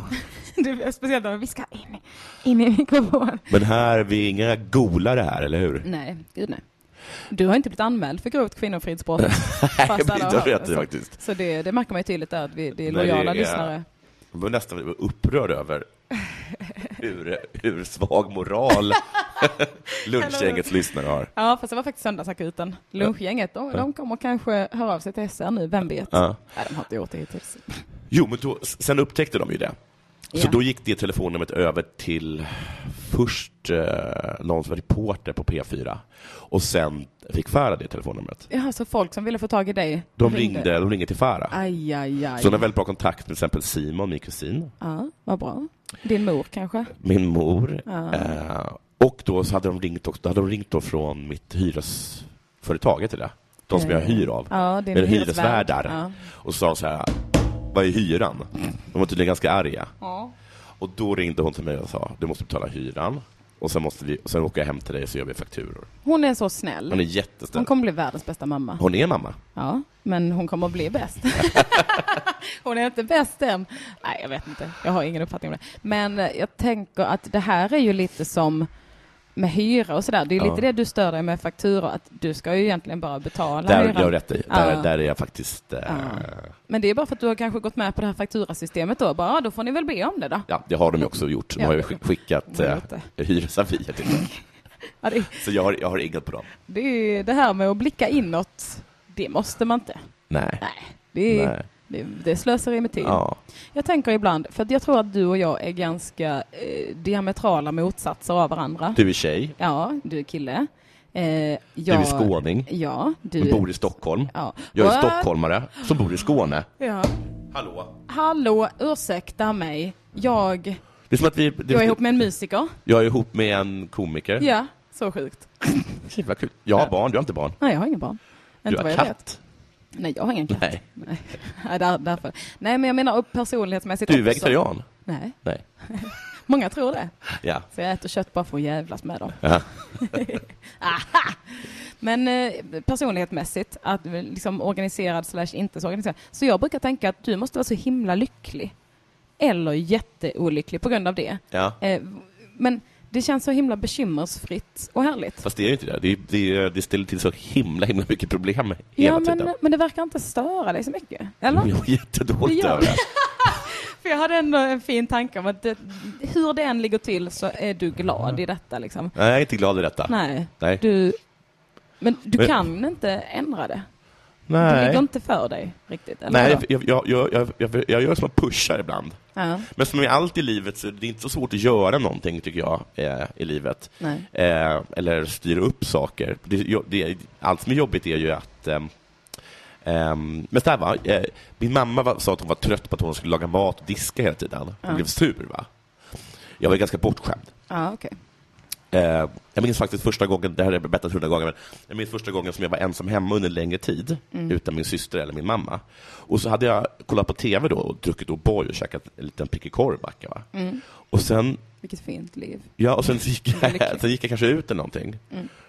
Det är speciellt när vi viskar in, in i mikrofonen. Men här, vi är inga golare här, eller hur? Nej, gud nej. Du har inte blivit anmäld för grovt kvinnofridsbrott. Nej, Fast jag blir alla inte har hört rätt det. i faktiskt. Så det, det märker man ju tydligt där att vi, det är Nej, lojala det är- lyssnare. Jag var nästan upprörd över hur, hur svag moral lunchgängets lyssnare har. Ja, fast det var faktiskt söndagsakuten. Lunchgänget, de, de kommer kanske höra av sig till SR nu, vem vet? Ja. Nej, de har inte gjort det hittills. Jo, men då, sen upptäckte de ju det. Så Ja. då gick det telefonnumret över till först eh, någon som var reporter på P4 och sen fick Farah det telefonnumret. Jaha, så folk som ville få tag i dig? De ringde, de ringde till Farah. Aj, aj, aj. Så de har väldigt bra kontakt med till exempel Simon, min kusin, Ja, vad bra. Din mor kanske? min mor. Eh, och då så hade de ringt, också, då hade de ringt då från mitt hyresföretag, heter det? De som jag hyr av. Ja, din Eller hyresvärd. hyresvärdar. Ja. Och sa så här, vad är hyran? De var tydligen ganska arga. Och då ringde hon till mig och sa, du måste betala hyran. Och sen, måste vi, och sen åker jag hem till dig så gör vi fakturor. Hon är så snäll. Hon är Hon jättesnäll. kommer bli världens bästa mamma. Hon är mamma. Ja, men hon kommer att bli bäst. hon är inte bäst än. Nej, jag vet inte. Jag har ingen uppfattning om det. Men eh, jag tänker att det här är ju lite som med hyra och sådär. Det är ju lite det du stör dig med fakturor, att du ska ju egentligen bara betala Där hyran. gör jag rätt i. Där, Ja. där är jag faktiskt... eh, Men det är bara för att du har kanske gått med på det här fakturasystemet då. Bara, ja, då får ni väl be om det då. Ja, det har de ju också gjort. De har ju Ja. skick- skickat Jag eh, vet hyresavier till mig. Ja, det, Så jag har, jag har inget på dem. det, är det här med att blicka inåt, det måste man inte. Nej. Nej, det, Nej. är, det, det slösar med tid. Ja. Jag tänker ibland, för att jag tror att du och jag är ganska eh, diametrala motsatser av varandra. Du är tjej, Ja, du är kille. Eh, jag, du är skåning, Ja, du du är... bor i Stockholm. Ja. Jag är What? stockholmare som bor i Skåne. Ja. Hallå? Hallå, ursäkta mig. Jag, Det är som att vi... Det, jag är ihop med en musiker. jag är ihop med en komiker. Ja, så sjukt. Jävla kul. Jag har barn, du har inte barn. Nej, jag har ingen barn. Du vad har jag vet. katt. Nej, jag har ingen katt. Nej. Nej, Nej, där, därför. Nej, men jag menar upp personlighetsmässigt Du är också. vegetarian. Nej, Nej. många tror det. Ja. Så jag äter kött bara för att jävlas med dem. Ja. Aha! Men eh, personlighetsmässigt, att eh, liksom organiserad slash inte så organiserad. Så jag brukar tänka att du måste vara så himla lycklig. Eller jätteolycklig på grund av det. ja. Eh, men det känns så himla bekymmersfritt och härligt. Fast det är ju inte det. Det, det. det ställer till så himla, himla mycket problem hela Ja, men, tiden. men det verkar inte störa dig så mycket. Eller? Jag är jättedåligt Det gör över det. För jag hade ändå en fin tanke om att det, hur det än ligger till så är du glad i detta liksom. Nej, jag är inte glad i detta. Nej, Nej. du... Men du Men- kan inte ändra det. Det Nej. ligger inte för dig riktigt. Eller Nej, vadå? jag, jag, jag, jag, jag, jag gör som man pushar ibland. Ja. Men som med allt i livet så är det inte så svårt att göra någonting, tycker jag, eh, i livet. Nej. Eh, eller styra upp saker. Det, jo- det, allt som är jobbigt är ju att... ehm, ehm, men så här, va? Eh, min mamma var, sa att hon var trött på att hon skulle laga mat och diska hela tiden. Hon blev sur. va? Jag var ganska bortskämd. Ja, okej. Eh, jag minns faktiskt första gången, det här har jag berättat hundra gånger, men jag minns första gången som jag var ensam hemma under en längre tid utan min syster eller min mamma. Och så hade jag kollat på TV då och druckit O'boy och käkat en liten prickig korv Backa, va? Och sen Vilket fint liv. Ja, och sen så gick Väldigt jag, lycklig. sen gick jag kanske ut eller någonting.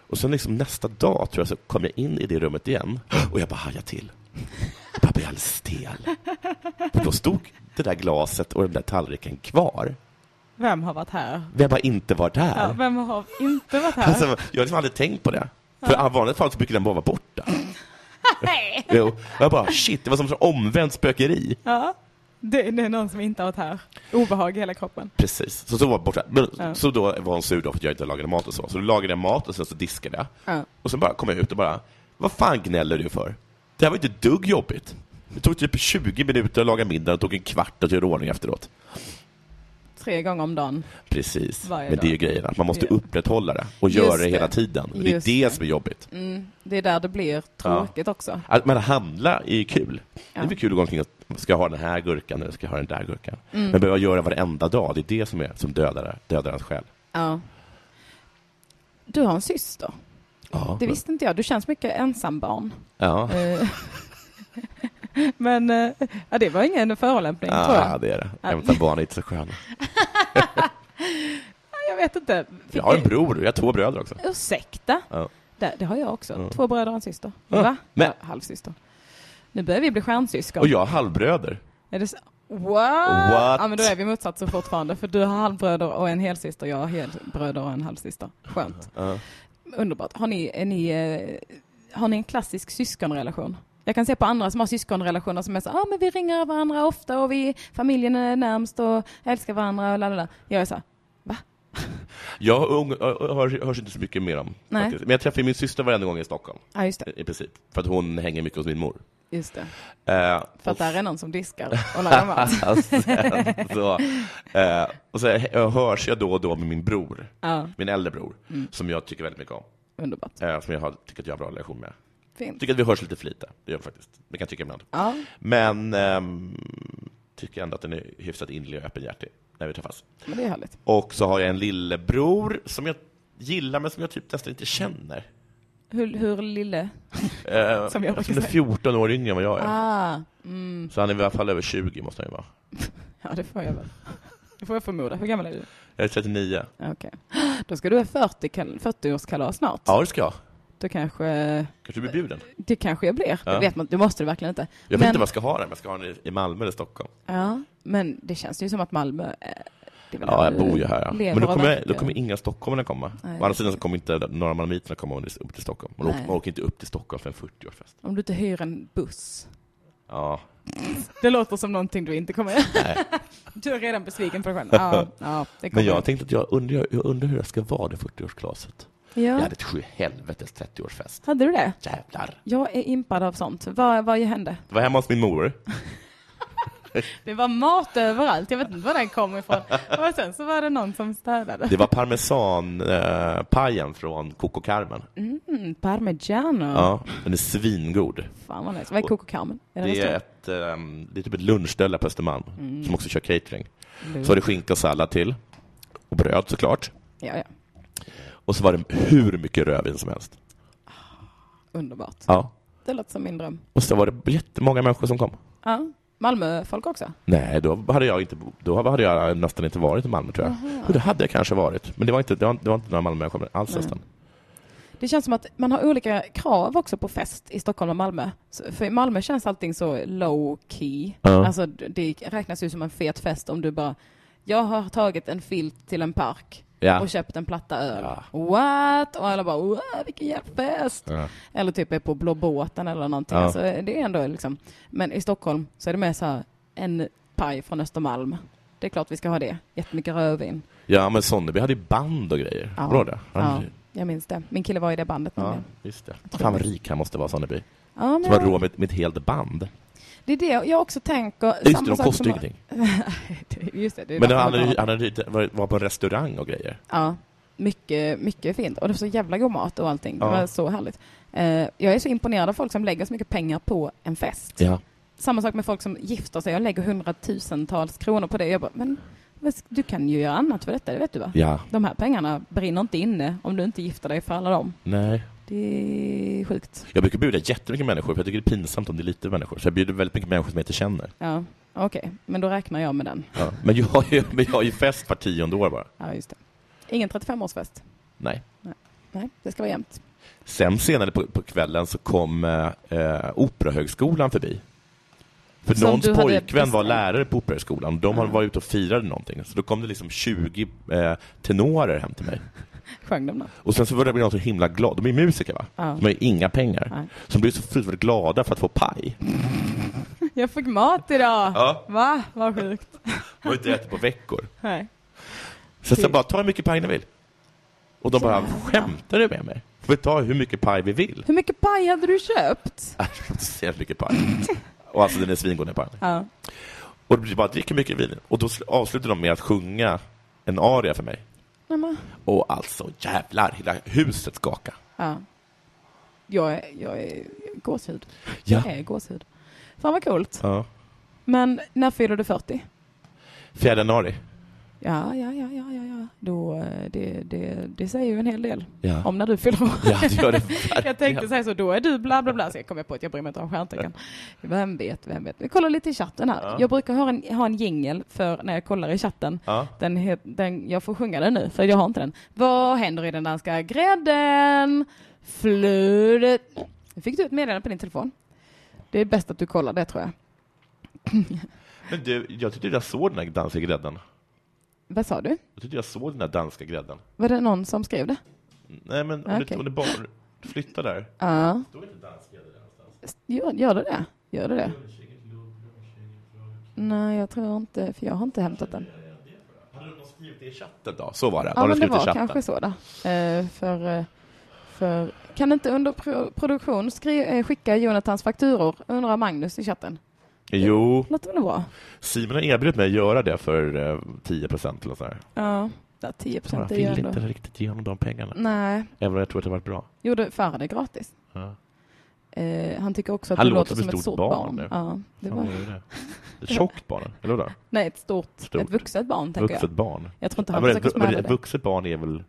Och sen liksom nästa dag tror jag så kom jag in i det rummet igen och jag bara hajade till. Jag bara blev alldeles stel. För då stod det där glaset och den där tallriken kvar. Vem har varit här? Vem har inte varit Ja, där? vem har inte varit här? Alltså, jag har liksom aldrig tänkt på det. För i vanliga fall så brukar den bara vara borta. Nej! Jo. Och Jag bara shit, det var som ett omvänt spökeri. Ja. Det, det är någon som inte har varit här. Obehag i hela kroppen. Precis, så, så var jag borta. Men, Ja. Så då var hon sur då för att jag inte lagade mat och så. Så då lagade jag mat och sen så diskade jag. Ja. Och sen bara kom jag ut och bara, vad fan gnäller du för? Det här var inte ett dugg jobbigt. Det tog typ 20 minuter att laga middag och tog en kvart att göra ordning efteråt. Tre gånger om dagen. Precis, Varje men det är ju dag. grejen, att man måste Ja. upprätthålla det och Just göra det hela det. tiden. Och det är Just det, det. som är jobbigt. Det är där det blir tråkigt också. Att man handla är ju kul. Det blir kul att gå omkring och ska jag ha den här gurkan eller ska jag ha den där gurkan. Mm. Men behöva göra varenda dag, det är det som, är, som dödar, dödar ens själ. Ja. Du har en syster. Ja, Det visste inte jag. Du känns mycket ensambarn. ja. Eh, Men eh, ja, det var ingen förolämpning tror ja jag. Ah, det är det. Hämta barn är inte så sköna. Jag vet inte. Fick Jag har en det- bror, jag har två bröder också. Ursäkta. Ja. Det, det har jag också. Ja. Två bröder och en syster. Ja, Va? men- Ja, halvsyster. Nu börjar vi bli stjärnsyskon. Och jag har halvbröder. Är det så? What? What? Ja men då är vi motsatser fortfarande för du har halvbröder och en helsyster, jag har helbröder och en halvsyster. Skönt. Ja. Underbart. Har ni, är ni, eh, har ni en klassisk syskonrelation? Jag kan se på andra som har syskonrelationer som är så ah, men vi ringer varandra ofta och vi, familjen är närmst och älskar varandra och lalala. Jag är så här, Jag har ung- jag hör, hörs inte så mycket mer om. Nej. faktiskt. Men jag träffar ju min syster varenda gång i Stockholm. ja, just det. I princip. För att hon hänger mycket hos min mor. Just det. Eh, För att och där är någon som diskar och lagar mat. sen så, eh, och så hö- hörs jag då och då med min bror. Ja, Min äldre bror. Mm. Som jag tycker väldigt mycket om. underbart. Eh, som jag har, tycker att jag har bra relation med. Fint. Tycker att vi hörs lite för lite. Det gör vi faktiskt. Det kan jag tycka ibland. Ja, Men ehm, tycker ändå att den är hyfsat innerlig och öppenhjärtig när vi träffas. men det är härligt. Och så har jag en lillebror som jag gillar men som jag typ nästan inte känner. Hur, hur lille? Eh, Som jag brukar tror han säga. är 14 år yngre än vad jag är. Ah, mm. Så han är i alla fall över 20 måste han ju vara. Ja, det får jag väl. det får jag förmoda. Hur gammal är du? Jag är 39. Okej. Då ska du ha 40 kal- 40-årskalas snart. Ja, det ska jag. Då kanske, Kanske blir bjuden. det kanske jag blir. Ja. Det vet man, det måste du verkligen inte. Jag vet Men- inte vad jag ska ha den, men jag ska ha den i- i Malmö eller Stockholm. Ja, men det känns ju som att Malmö... eh, Det är väl Ja, där jag du bor ju här. Ja. lever Men då och kommer, verkar. då kommer inga stockholmare komma. Nej. Å andra sidan så kommer inte norrmalmiterna komma upp till Stockholm. Man åker, Nej. man åker inte upp till Stockholm för en 40-årsfest. Om du inte hyr en buss. Ja, Det låter som någonting du inte kommer Nej. Du är redan besviken på dig själv. Ja, ja, det kommer. Men jag tänkte att jag undrar, jag undrar hur jag ska vara det 40-årskalaset. Jag Ja. hade ett sju helvetes 30-årsfest. Hade du det? Jävlar. Jag är impad av sånt. Vad, vad hände? Jag var hemma hos min mor. Det var mat överallt. Jag vet inte var den kom ifrån. Och sen så var det någon som städade. Det var parmesanpajen eh, pajen från Coco Carmen. Mm, parmigiano. Ja, den är svingod. Fan vad nice. Vad är Coco Carmen? Är Mm. Det är, det ett, ehm, det är typ ett lunchställe på Östermalm som också kör catering. Så var det skinka och sallad till. Och bröd såklart. ja, ja. Och så var det hur mycket rödvin som helst. Underbart. Ja. Det låter som min dröm. Och så var det jättemånga människor som kom. Ja. Malmöfolk också? Nej, då hade jag, inte, då hade jag nästan inte varit i Malmö tror jag. Och det hade jag kanske varit. Men det var inte, det var, det var inte några Malmömänniskor alls nästan. Det känns som att man har olika krav också på fest i Stockholm och Malmö. Så- För i Malmö känns allting så low key. Ja. Alltså det räknas ju som en fet fest om du bara, jag har tagit en filt till en park Ja. och köpt en platta öl. Ja. What? Och alla bara, wow, vilken jävla fest. Ja. Eller typ är på Blå båten eller någonting. Ja. Alltså, det är ändå liksom, men i Stockholm så är det mer så här, en paj från Östermalm. Det är klart vi ska ha det. Jättemycket rödvin. ja, men Sonneby hade ju band och grejer. Ja. Bra det. Ja, jag minns det. Min kille var i det bandet Ja, nämligen. just det. Fan vad rik han måste vara, Sonneby. Ja, men Som har råd med, med ett helt band. Det är det jag också tänker. Just samma det, de sak kostar som- ju ingenting. Just det, det är Men därför han, man hade, tar- han hade, ju- var- var på en restaurang och grejer. Ja, mycket, mycket fint. Och det var så jävla god mat och allting. Ja. Det var så härligt. Eh, jag är så imponerad av folk som lägger så mycket pengar på en fest. Ja. Samma sak med folk som gifter sig. Jag lägger hundratusentals kronor på det. Jag bara, men vad ska- du kan ju göra annat för detta, det vet du va? Ja. De här pengarna brinner inte inne om du inte gifter dig för alla dem. Nej. Det är sjukt. Jag brukar bjuda jättemycket människor, för jag tycker det är pinsamt om det är lite människor. Så jag bjuder väldigt mycket människor som jag inte känner. Ja, okej. Men då räknar jag med den. Ja. Men, jag har ju, men jag har ju fest var tionde år bara. Ja, just det. Ingen 35-årsfest. Nej. Nej. Nej, det ska vara jämnt. Sen senare på, på kvällen så kom eh, eh, Operahögskolan förbi. För Som någons du hade pojkvän var bestämt. lärare på Operahögskolan. De hade varit ute och firade någonting. Så då kom det liksom 20 eh, tenorer hem till mig. Sjöng de då? Och sen så var det de så himla glada. De är musiker va? Ja. De har ju inga pengar. Nej. Så de blev så fruktansvärt glada för att få paj. Jag fick mat idag! Ja. Va? Vad sjukt. De har ju inte ätit på veckor. Nej. Så jag sa bara, ta hur mycket paj ni vill. Och de bara, skämtar du med mig? Får vi ta hur mycket paj vi vill? Hur mycket paj hade du köpt? Äh, det var Så jävla mycket paj. Och alltså den är svingod den pajen. Ja. Och det blir bara, drick hur mycket vin. Och då sl- avslutar de med att sjunga en aria för mig. Nej, men, Och alltså jävlar, hela huset skakade. ja. Jag är, jag är gåshud. Ja. Jag är gåshud. Fan vad coolt. ja. Men när fyller du 40? 4 januari. Ja, ja, ja, ja, ja, ja. Då, eh, det, det, det säger ju en hel del Ja. om när du fyller år. Ja, det gör det jag tänkte säga så, då är du bla bla bla, så jag kom jag på att jag bryr mig inte om stjärntecken. Vem vet, vem vet. Vi kollar lite i chatten här. Jag brukar ha en, ha en jingel för när jag kollar i chatten. Ja. Den het, den, jag får sjunga den nu, för jag har inte den. Vad händer i den danska grädden? Flödet. Nu Fick du ett meddelande på din telefon? Det är bäst att du kollar det tror jag. Men du, jag tyckte jag såg den här danska grädden. Vad sa du? Jag tyckte jag såg den här danska grädden. Var det någon som skrev det? Nej men om, Okej. du, om du bara flyttar där. Ja. Då är det inte dansk grädde där någonstans. Gör, gör det det? Gör det det? Nej, jag tror inte, för jag har inte hämtat den. Hade de skrivit det i chatten då? Så var det. Ja, Har de men det skrivit i var chatten? kanske så där. Eh, för, eh, för, kan inte under pro produktion skri- eh, skicka Jonathans fakturor, undrar Magnus i chatten. Jo, Låter väl bra? Simon har erbjudit mig att göra det för eh, 10 procent eller sådär. Ja, där 10 Jag procent är ju vill ändå... inte riktigt ge honom de pengarna. Nej, Även om jag tror att det har varit bra. gjorde Farah det gratis. Ja. Eh, han tycker också att Han du låter låter som som ett ett stort stort barn. barn nu. Ja, det Fan, var, vad är det? Ett tjockt barn, eller vadå? nej, ett stort, Stort. ett vuxet barn tänker Vuxet barn. jag. Jag tror inte Ja, han men försöker ett, men smälla ett det. vuxet barn är väl,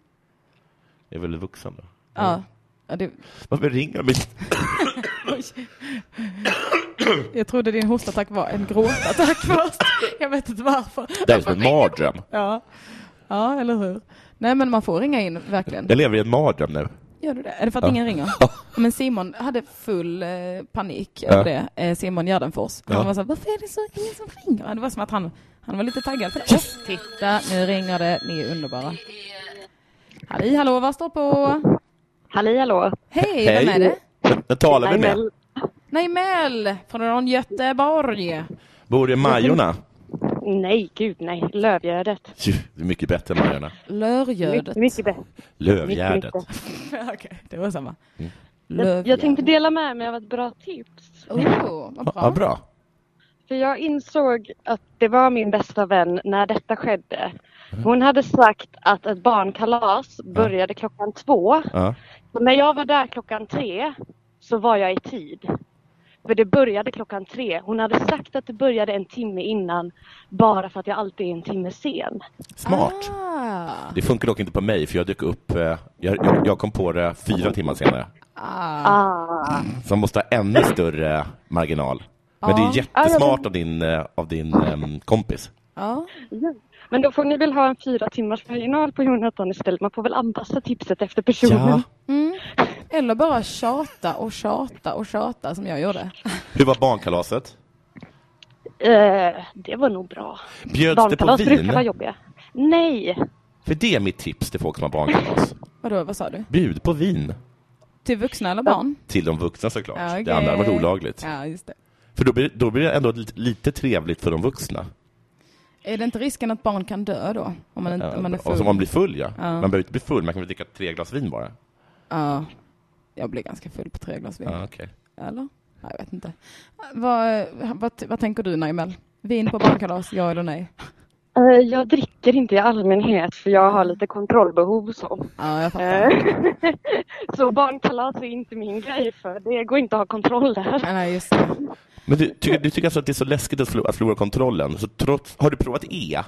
är väl vuxen då? Ja. Ja, det, Varför ringer de inte? jag trodde din hostattack var en gråtattack först. Jag vet inte varför. Det här är som en mardröm. Ja. ja, eller hur? Nej, men man får ringa in, verkligen. Jag lever i en mardröm nu. Gör du det? Är det för att Ja. ingen ringer? Men Simon hade full eh, panik Ja. över det. Eh, Simon Gärdenfors. Ja. Han var så här, varför är det så ingen som ringer? Det var som att han, han var lite taggad. på det. Åh, titta, nu ringer det. Ni är underbara. Halli hallå, vad står på? Halli hallå! Hej, vem är det? Jag talar vi med? Mel. Naimel från Göteborg. Bor i Majorna? Nej, gud nej. Lövgärdet. Tju, Det är mycket bättre än Majorna. Lörgödet. Mycket, mycket bättre. Lövgärdet. Mycket, Okej, det var samma. Mm. Jag, jag tänkte dela med mig av ett bra tips. Oh, vad Ja, bra. bra. För jag insåg att det var min bästa vän när detta skedde. Hon hade sagt att ett barnkalas började klockan två. Ja. Så när jag var där klockan tre så var jag i tid. För det började klockan tre. Hon hade sagt att det började en timme innan bara för att jag alltid är en timme sen. Smart. Ah, Det funkar dock inte på mig, för jag dök upp... eh, Jag, jag, jag kom på det fyra timmar senare. ah. Ah. Så man måste ha ännu större marginal. Men det är jättesmart av din, eh, av din ehm, kompis. Ja. Men då får ni väl ha en fyra timmars marginal på Jonathan istället. Man får väl anpassa tipset efter personen. Ja. Eller bara tjata och tjata och tjata som jag gjorde. Hur var barnkalaset? Eh, det var nog bra. Bjöds det på Barnkalas brukar vara vin? jobbiga. Nej, För det är mitt tips till folk som har barnkalas. Vadå, vad sa du? Bjud på vin. Till vuxna eller barn? Till de vuxna såklart. Ja, Det andra var okej. olagligt. Ja, just det. För då blir, då blir det ändå lite, lite trevligt för de vuxna. Är det inte risken att barn kan dö då? Om man, inte, om man är Och full? så man blir full, ja. Ja. Mm. Man behöver inte bli full, man kan väl dricka tre glas vin bara. Ja. Jag blir ganska full på tre glas vin. Ja, okej. Eller? Nej, jag vet inte. Vad, vad, vad tänker du Naimel? Vin på barnkalas, ja eller nej? eh, jag dricker inte i allmänhet för jag har lite kontrollbehov och så. Ja, jag fattar. Eh, så barnkalas är inte min grej för det går inte att ha kontroll där. Nej, just det. Men du, ty, du tycker alltså att det är så läskigt att förlora, att förlora kontrollen, så trots, har du provat E?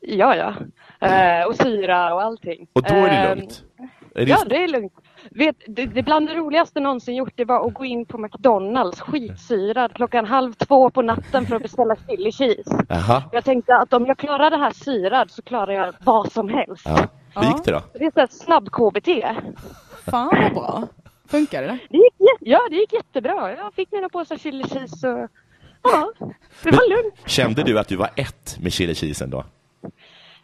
Ja, ja. Eh, och syra och allting. Och då är det Eh, lugnt? Är det Ja, det är lugnt. Vet, det, det bland det roligaste någonsin gjort det var att gå in på McDonalds skitsyrad klockan halv två på natten för att beställa chili cheese. Aha. Jag tänkte att om jag klarar det här syrad så klarar jag vad som helst. Ja. Hur gick det då? Det är så här snabb KBT. Fan vad bra. Funkar det? Det gick, jä- ja, det gick jättebra. Jag fick mina påsar chili cheese och ja, det var lugnt. Kände du att du var ett med chili cheesen då?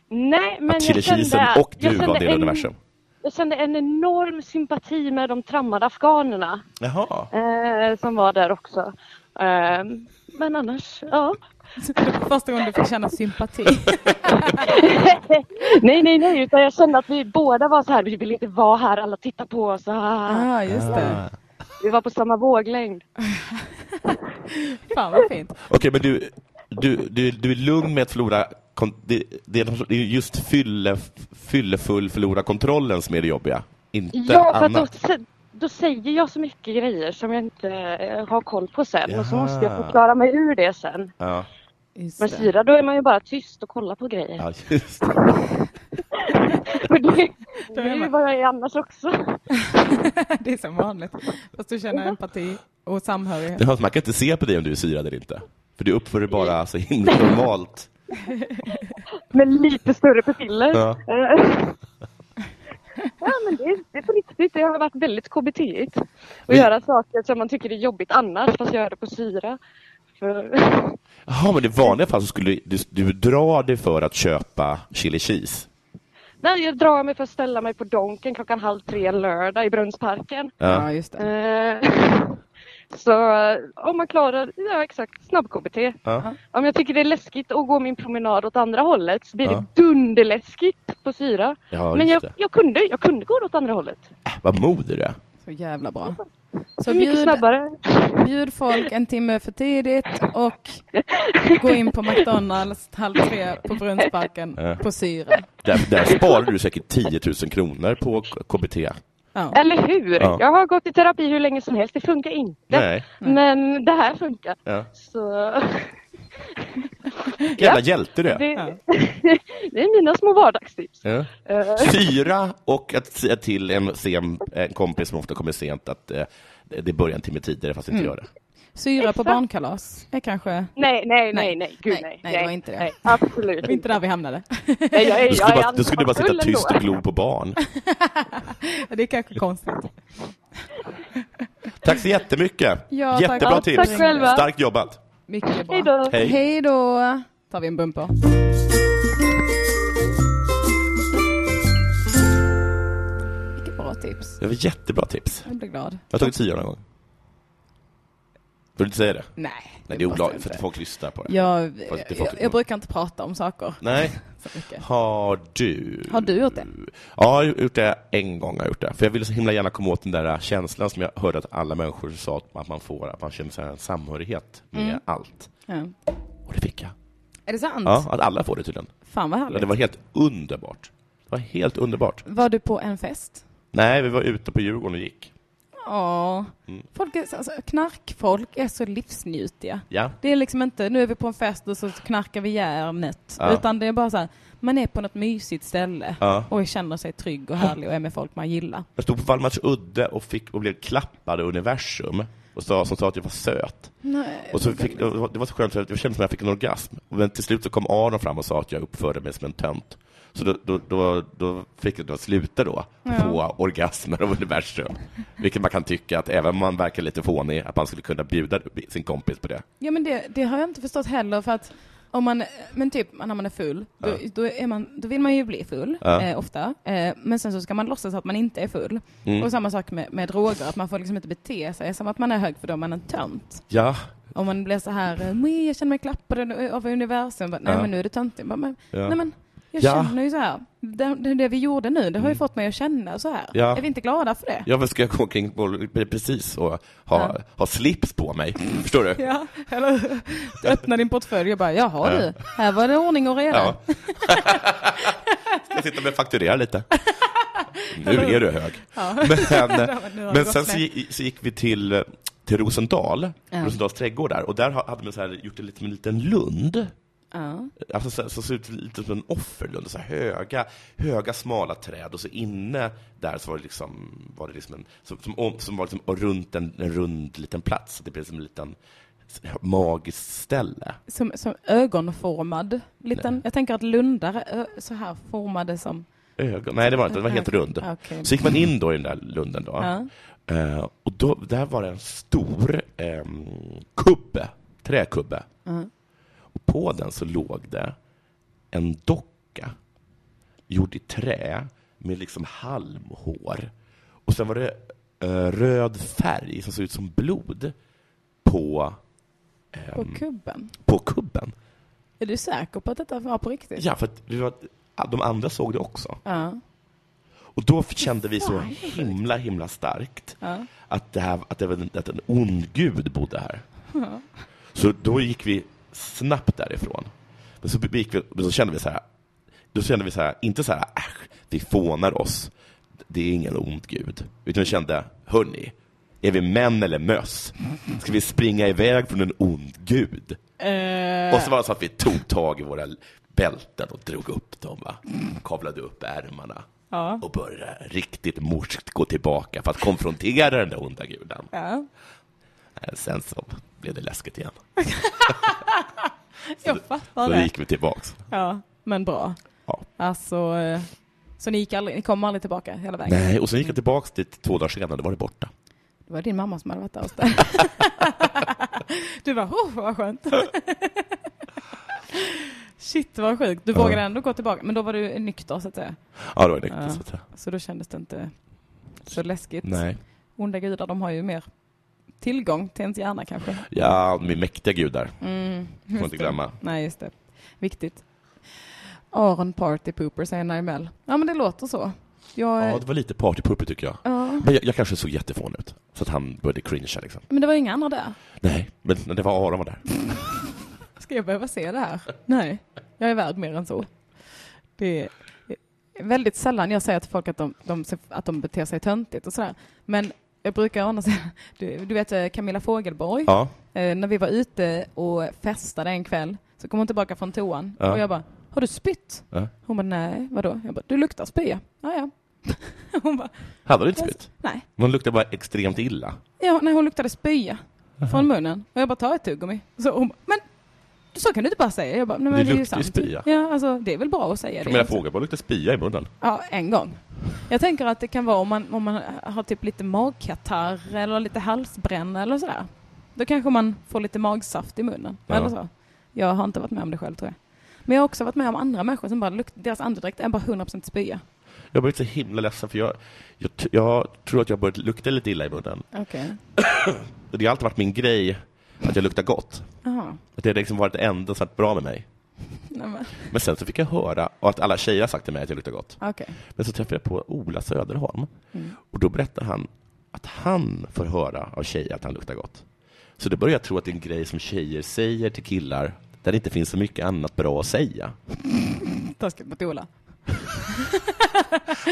Nej, men att chili jag kände, cheesen och jag du kände var del en- av universum? Jag kände en enorm sympati med de trammade afghanerna Jaha. eh, som var där också. Eh, men annars, ja. Första gången du fick känna sympati. Nej, nej, nej, utan jag kände att vi båda var så här, vi vill inte vara här, alla tittar på oss. Ah, Ah, just det. vi var på samma våglängd. Fan vad fint. Okej, men du, du, du, du är lugn med att förlora... kon- Det, det är de som- det är just fylle, fyllefull förlora kontrollen som är det jobbiga. Inte Ja, för att då, annat. sä- då säger jag så mycket grejer som jag inte eh, har koll på sen och så Jaha. måste jag förklara mig ur det sen. Ja, Just Men det. Syra, då är man ju bara tyst och kollar på grejer. ja, just. Men det, det är är ju man- vad jag är annars också. Det är som vanligt. Fast du känner empati och samhörighet. Det hörs, man kan inte se på dig om du är syrad eller inte. För du uppför dig bara så himla normalt. Med lite större pupiller. Ja. Eh, ja, men det, det är på riktigt. Det har varit väldigt kbt -igt. Att göra saker som man tycker är jobbigt annars, fast göra det på Syra. För... Jaha, men i vanliga fall så skulle du, du dra dig för att köpa chili cheese. Nej, jag drar mig för att ställa mig på Donken klockan halv tre en lördag i Brunnsparken. Ja, just det. Eh, Så om man klarar, ja exakt, snabb-KBT. Ja. Om jag tycker det är läskigt att gå min promenad åt andra hållet så blir Ja. det dunderläskigt på syra. Ja, Men just jag, det. jag, kunde, jag kunde gå åt andra hållet. Vad modig du är. Så jävla bra. Så Så mycket bjud, snabbare. bjud folk en timme för tidigt och gå in på McDonalds halv tre på Brunnsparken Ja. på Syra. Där, där sparar du säkert 10 000 kronor på k- KBT. Ja. Eller hur? Ja. Jag har gått i terapi hur länge som helst. Det funkar inte. Nej. Men det här funkar. Ja. Så Jävla hjälte du är. det, det är mina små vardagstips. Ja. Eh, Fyra och att säga till en, sen, en kompis som ofta kommer sent att eh, det börjar en timme tidigare fast Mm. inte gör det. Syra på Exakt. barnkalas är kanske nej, nej, nej, Nej. nej. Gud, nej, Nej, nej, det var inte det. absolut inte där vi hamnade. Nej, jag är, Då jag skulle, är bara, då skulle du bara sitta ansvarsfull tyst ändå. och glo på barn. Det är kanske konstigt. Tack så jättemycket. Ja, tack. Jättebra Ja, tips. tack själva. Starkt jobbat. Mycket bra. Hej då. Hej. Hej då. Tar vi en bumper. Vilket bra tips. Det var jättebra tips. Jag blir glad. Jag har tagit tio någon gång. Vill du inte säga det? Nej, Nej, det är måste jag olagligt för inte. att folk lyssnar på det. Jag, Fast det får jag, typ- jag brukar inte prata om saker Nej. så mycket. Har du... Har du gjort det? Ja, jag har gjort det en gång. Har jag gjort det. För jag ville så himla gärna komma åt den där känslan som jag hörde att alla människor sa att man får, att man känner så här en samhörighet med allt. Ja. Och det fick jag. Är det sant? Ja, att alla får det tydligen. Fan vad Ja, Det härligt. var helt underbart. Det var helt underbart. Var du på en fest? Nej, vi var ute på Djurgården och gick. Ja. Mm. Folk är, så- alltså, knarkfolk är så livsnjutiga. Ja. Det är liksom inte, nu är vi på en fest och så knarkar vi järnet. Ja. Utan det är bara så här, man är på något mysigt ställe Ja. och känner sig trygg och härlig och är med folk man gillar. Jag stod på Wallmarks udde och, fick, och blev klappad av universum och sa, som sa att jag var söt. Nej. Och så fick, det var det var så skönt, för att jag kände som att jag fick en orgasm. Men till slut så kom Aron fram och sa att jag uppförde mig som en tönt. Så då, då, då, då fick jag då sluta då på orgasmer av universum. Vilket man kan tycka att även om man verkar lite fånig, att man skulle kunna bjuda sin kompis på det. Ja men det, det har jag inte förstått heller för att om man, men typ när man är full, då, då, är man, då vill man ju bli full Ja. eh, ofta. Eh, men sen så ska man låtsas att man inte är full. Mm. Och samma sak med, med droger, att man får liksom inte bete sig som att man är hög för då är man en tönt. Ja, Om man blir så här, eh, "Oj, jag känner mig klappad av universum. Bara, Nej Ja. men nu är du töntig. Bara, Men, Ja. Nej men, jag Ja. Mm. känner ju så här. Det, det, det vi gjorde nu, det har ju fått mig att känna så här. Ja. Är vi inte glada för det? jag ska gå omkring på- precis och ha, Ja. ha slips på mig. Förstår du? Ja, eller du öppnar din portfölj och bara, jaha du, här var det ordning och reda. Ja. Ska sitta med och fakturera lite. Nu är du hög. Nu Men, har det men gått sen så, ner. gick- så gick vi till, till Rosendal, Ja. Rosendals trädgård där, och där ha- hade man så här, gjort det lite med en liten lund. Ja. Alltså så, så ser det ut lite som en offerlund, så här höga, höga smala träd och så inne där så var det liksom, var det liksom en, som, som, om- som var liksom och runt en, en rund liten plats, så det blev som en liten magiskt ställe. Som, som ögonformad liten. Jag tänker att lundar är ö- så här formade som ögon. Nej, det var det inte. Den var helt rund. Okej. Så gick man in då i den där lunden då. Ja. Eh, och då, där var det en stor ehm, kubbe, träkubbe. Och på den så låg det en docka gjord i trä med liksom halmhår. Och sen var det eh, röd färg som såg ut som blod på, På ehm, kubben. på kubben. Är du säker på att detta var på riktigt? Ja, för att det var, de andra såg det också. Ja. Och då kände vi så himla, himla starkt att, det här, att, det var, att en ond gud bodde här. Så då gick vi snabbt därifrån. Men så, gick vi, men så kände vi så här, då kände vi så här, inte så här, äsch, vi fånar oss, det är ingen ond gud. Utan vi kände, hörni, är vi män eller möss? Ska vi springa iväg från en ond gud? Eh, Och så var det så att vi tog tag i våra bälten och drog upp dem, va? kavlade upp ärmarna och började riktigt morskt gå tillbaka för att konfrontera den där onda guden. Ja. Eh, Sen så blev det läskigt igen. Jag fattar Så då det. gick vi tillbaks. Ja, men bra. Ja. Alltså, eh, så ni, gick aldrig, ni kom aldrig tillbaka hela vägen? Nej, och sen gick jag tillbaks dit två dagar senare, då var det borta. Det var din mamma som hade varit där hos dig. du var oh, vad skönt. Shit vad sjukt. Du Ja. vågade ändå gå tillbaka. Men då var du nykter så att säga. Ja, då var det Ja. riktigt. så att säga. Så då kändes det inte så läskigt. Nej. Onda gudar de har ju mer tillgång till ens hjärna kanske. Mm, Ja, min mäktiga gud där. Får inte glömma. Nej, just det. Viktigt. Aron Party Pooper säger Naimel. Ja, men det låter så. Jag, Ja, det var lite partypupper tycker jag. Ja. Men jag, jag kanske såg jättefån ut, så att han började cringea liksom. Men det var inga andra där. Nej, men men det var Aron var där. Ska jag behöva se det här? Nej, jag är värd mer än så. Det är väldigt sällan jag säger till folk att de, de, ser- att de beter sig töntigt och sådär. Men jag brukar annars säga, du, du vet eh, Camilla Fogelborg? Ja. Eh, när vi var ute och festade en kväll så kom hon tillbaka från toan Ja. och jag bara, har du spytt? Ja. Hon bara, nej, vadå? Jag bara, du luktar spya. Ja, ja. hon bara, Hade du inte spytt? nej. Hon luktade bara extremt illa. Ja, nej, hon luktade spya från munnen. Och jag bara, ta ett tuggummi. Så hon bara, men så kan du inte bara säga. Jag bara, nej, men Det det, är ju luktar ju sant. spya. Ja, alltså det är väl bra att säga Camilla det. Fogelborg luktade spya i munnen. Ja, en gång. Jag tänker att det kan vara om man, om man har typ lite magkatarr eller lite halsbränna eller sådär. Då kanske man får lite magsaft i munnen. Ja. Eller så. Jag har inte varit med om det själv tror jag. Men jag har också varit med om andra människor som bara lukt, deras andedräkt är bara 100% spya. Jag har blivit så himla ledsen för jag, jag, t- jag tror att jag har börjat lukta lite illa i munnen. Okej. Det har alltid varit min grej att jag luktar gott. Jaha. Att det har liksom varit det enda som varit bra med mig. Nej, men- Men sen så fick jag höra och att alla tjejer har sagt till mig att jag luktar gott. Okej. Men så träffade jag på Ola Söderholm och då berättar han att han får höra av tjejer att han luktar gott. Så då börjar jag tro att det är en grej som tjejer säger till killar där det inte finns så mycket annat bra att säga. Taskigt mot Ola.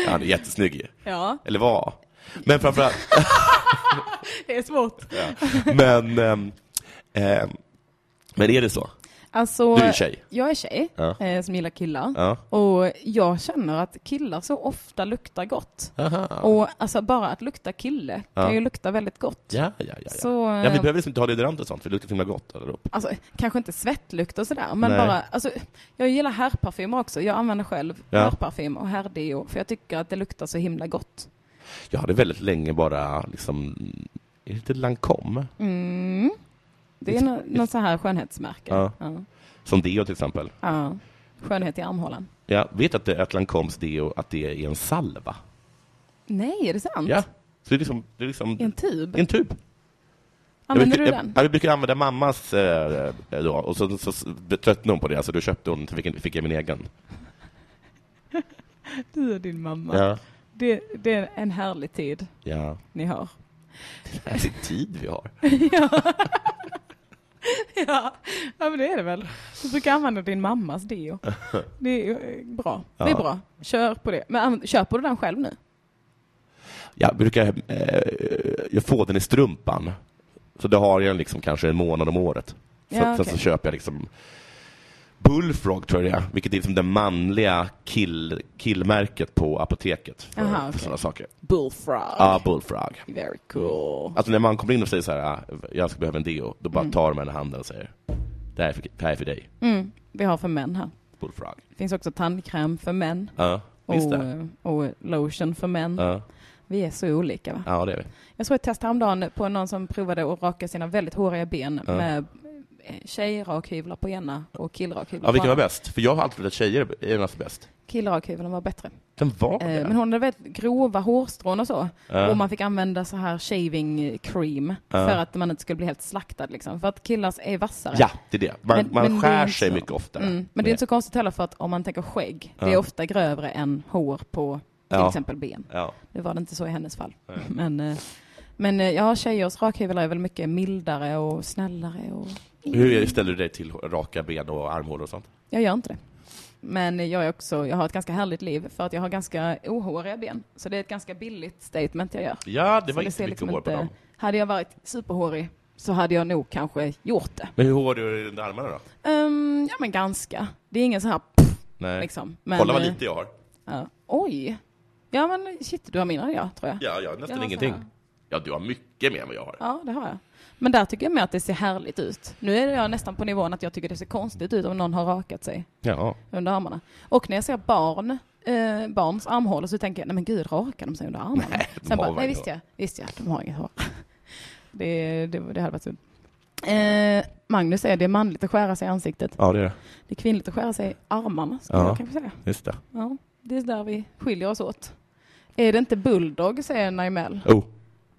Han är jättesnygg ju. Ja, Eller var. Men framförallt det är svårt. Men, ehm, ehm, men är det så? Alltså, Du är tjej. Jag är tjej Ja. eh, som gillar killar. Ja. Och jag känner att killar så ofta luktar gott. Och alltså bara att lukta kille Ja. kan ju lukta väldigt gott. Ja, ja, ja. ja. Så, ja vi eh, behöver liksom inte ha deodorant och sånt, för det luktar så himla gott. allihop. Alltså kanske inte svettlukt och sådär men Nej. bara, alltså, jag gillar herrparfymer också. Jag använder själv Ja. herrparfym och herrdeo för jag tycker att det luktar så himla gott. Jag hade väldigt länge bara liksom, är det inte Lancome? Mm. Det är nå- något så här skönhetsmärke. Ja. Ja. Som deo till exempel. Ja. Skönhet i armhålan. Jag vet att, det, att Lancomes deo, att det är en salva. Nej, är det sant? Ja. Så det är liksom, det är liksom I Mm. en tub? i en tub. Använder jag, du brukar, den? Jag, jag brukar använda mammas eh, eh, då, och så, så, så tröttnade hon på det, så då köpte hon, så fick, jag- fick jag min egen. Du och din mamma. Ja. Det, det är en härlig tid ja. ni har. Det är tid vi har. Ja, ja men det är det väl. Du brukar använda din mammas deo. Det är ju, eh, bra. Det är Ja. bra. Kör på det. Men anv- köper du den själv nu? Jag brukar, eh, jag får den i strumpan. Så då har jag den liksom kanske en månad om året. Så, Ja, Sen okej. så köper jag liksom Bullfrog tror jag det är, vilket är liksom det manliga kill, killmärket på apoteket för, Aha, för okej. sådana saker. Bullfrog. Ja, Bullfrog. Very cool. Alltså när man kommer in och säger så här, "Ah, jag ska behöva en deo, då Mm. bara tar de en i handen och säger, det här är för, det här är för dig, Mm. Vi har för män här. Bullfrog. Det finns också tandkräm för män. Ja. Visst och, eh, det. och lotion för män. Ja, Vi är så olika va? ja det är vi. Jag såg ett test häromdagen på någon som provade att raka sina väldigt håriga ben med tjejrakhyvlar på ena och killrakhyvlar Ja, vilken på var andra. bäst? För jag har alltid trott att tjejer är nästan bäst. Killrakhyveln var bättre. Den var Eh, det. Men hon hade väldigt grova hårstrån och så. Ja. Och man fick använda så här shaving cream för att man inte skulle bli helt slaktad liksom. För att killars är vassare. Ja, det är det. Man, Men- man men det är skär inte sig så. mycket oftare. Mm. Men det är inte så konstigt heller för att om man tänker skägg, det är Ja. ofta grövre än hår på till Ja. exempel ben. Ja. Nu var det inte så i hennes fall. Men, eh, men eh, ja, tjejers rakhyvlar är väl mycket mildare och snällare och Hur ställer du dig till raka ben och armhålor och sånt? jag gör inte det. Men jag, är också, jag har ett ganska härligt liv för att jag har ganska ohåriga ben. Så det är ett ganska billigt statement jag gör. Ja, det var Så inte ser liksom mycket hår på dem. Hade jag varit superhårig så hade jag nog kanske gjort det. Men hur hård är du under armarna då? Ehm, ja men ganska. Det är ingen så här pff, Nej. liksom. Men, Kolla vad eh, lite jag har. Ja. Oj. Ja men shit, du har mindre än jag tror jag. Ja, jag har nästan har så ingenting. här. Ja, du har mycket mer än vad jag har. Ja, det har jag. Men där tycker jag med att det ser härligt ut. Nu är jag nästan på nivån att jag tycker det ser konstigt ut om någon har rakat sig Ja. under armarna. Och när jag ser barn, eh, barns armhålor så tänker jag, nej men gud, rakar de sig under armarna? Nej, de Sen har bara, nej varje visst hår." jag, visst jag, de har inget hår. Det, det, det hade varit synd. Eh, Magnus säger det är manligt att skära sig i ansiktet. Ja, det är det. Det är kvinnligt att skära sig i armarna, skulle Ja. jag kanske säga. Just det. Ja, det är där vi skiljer oss åt. Är det inte bulldog, säger Naimel. Oh,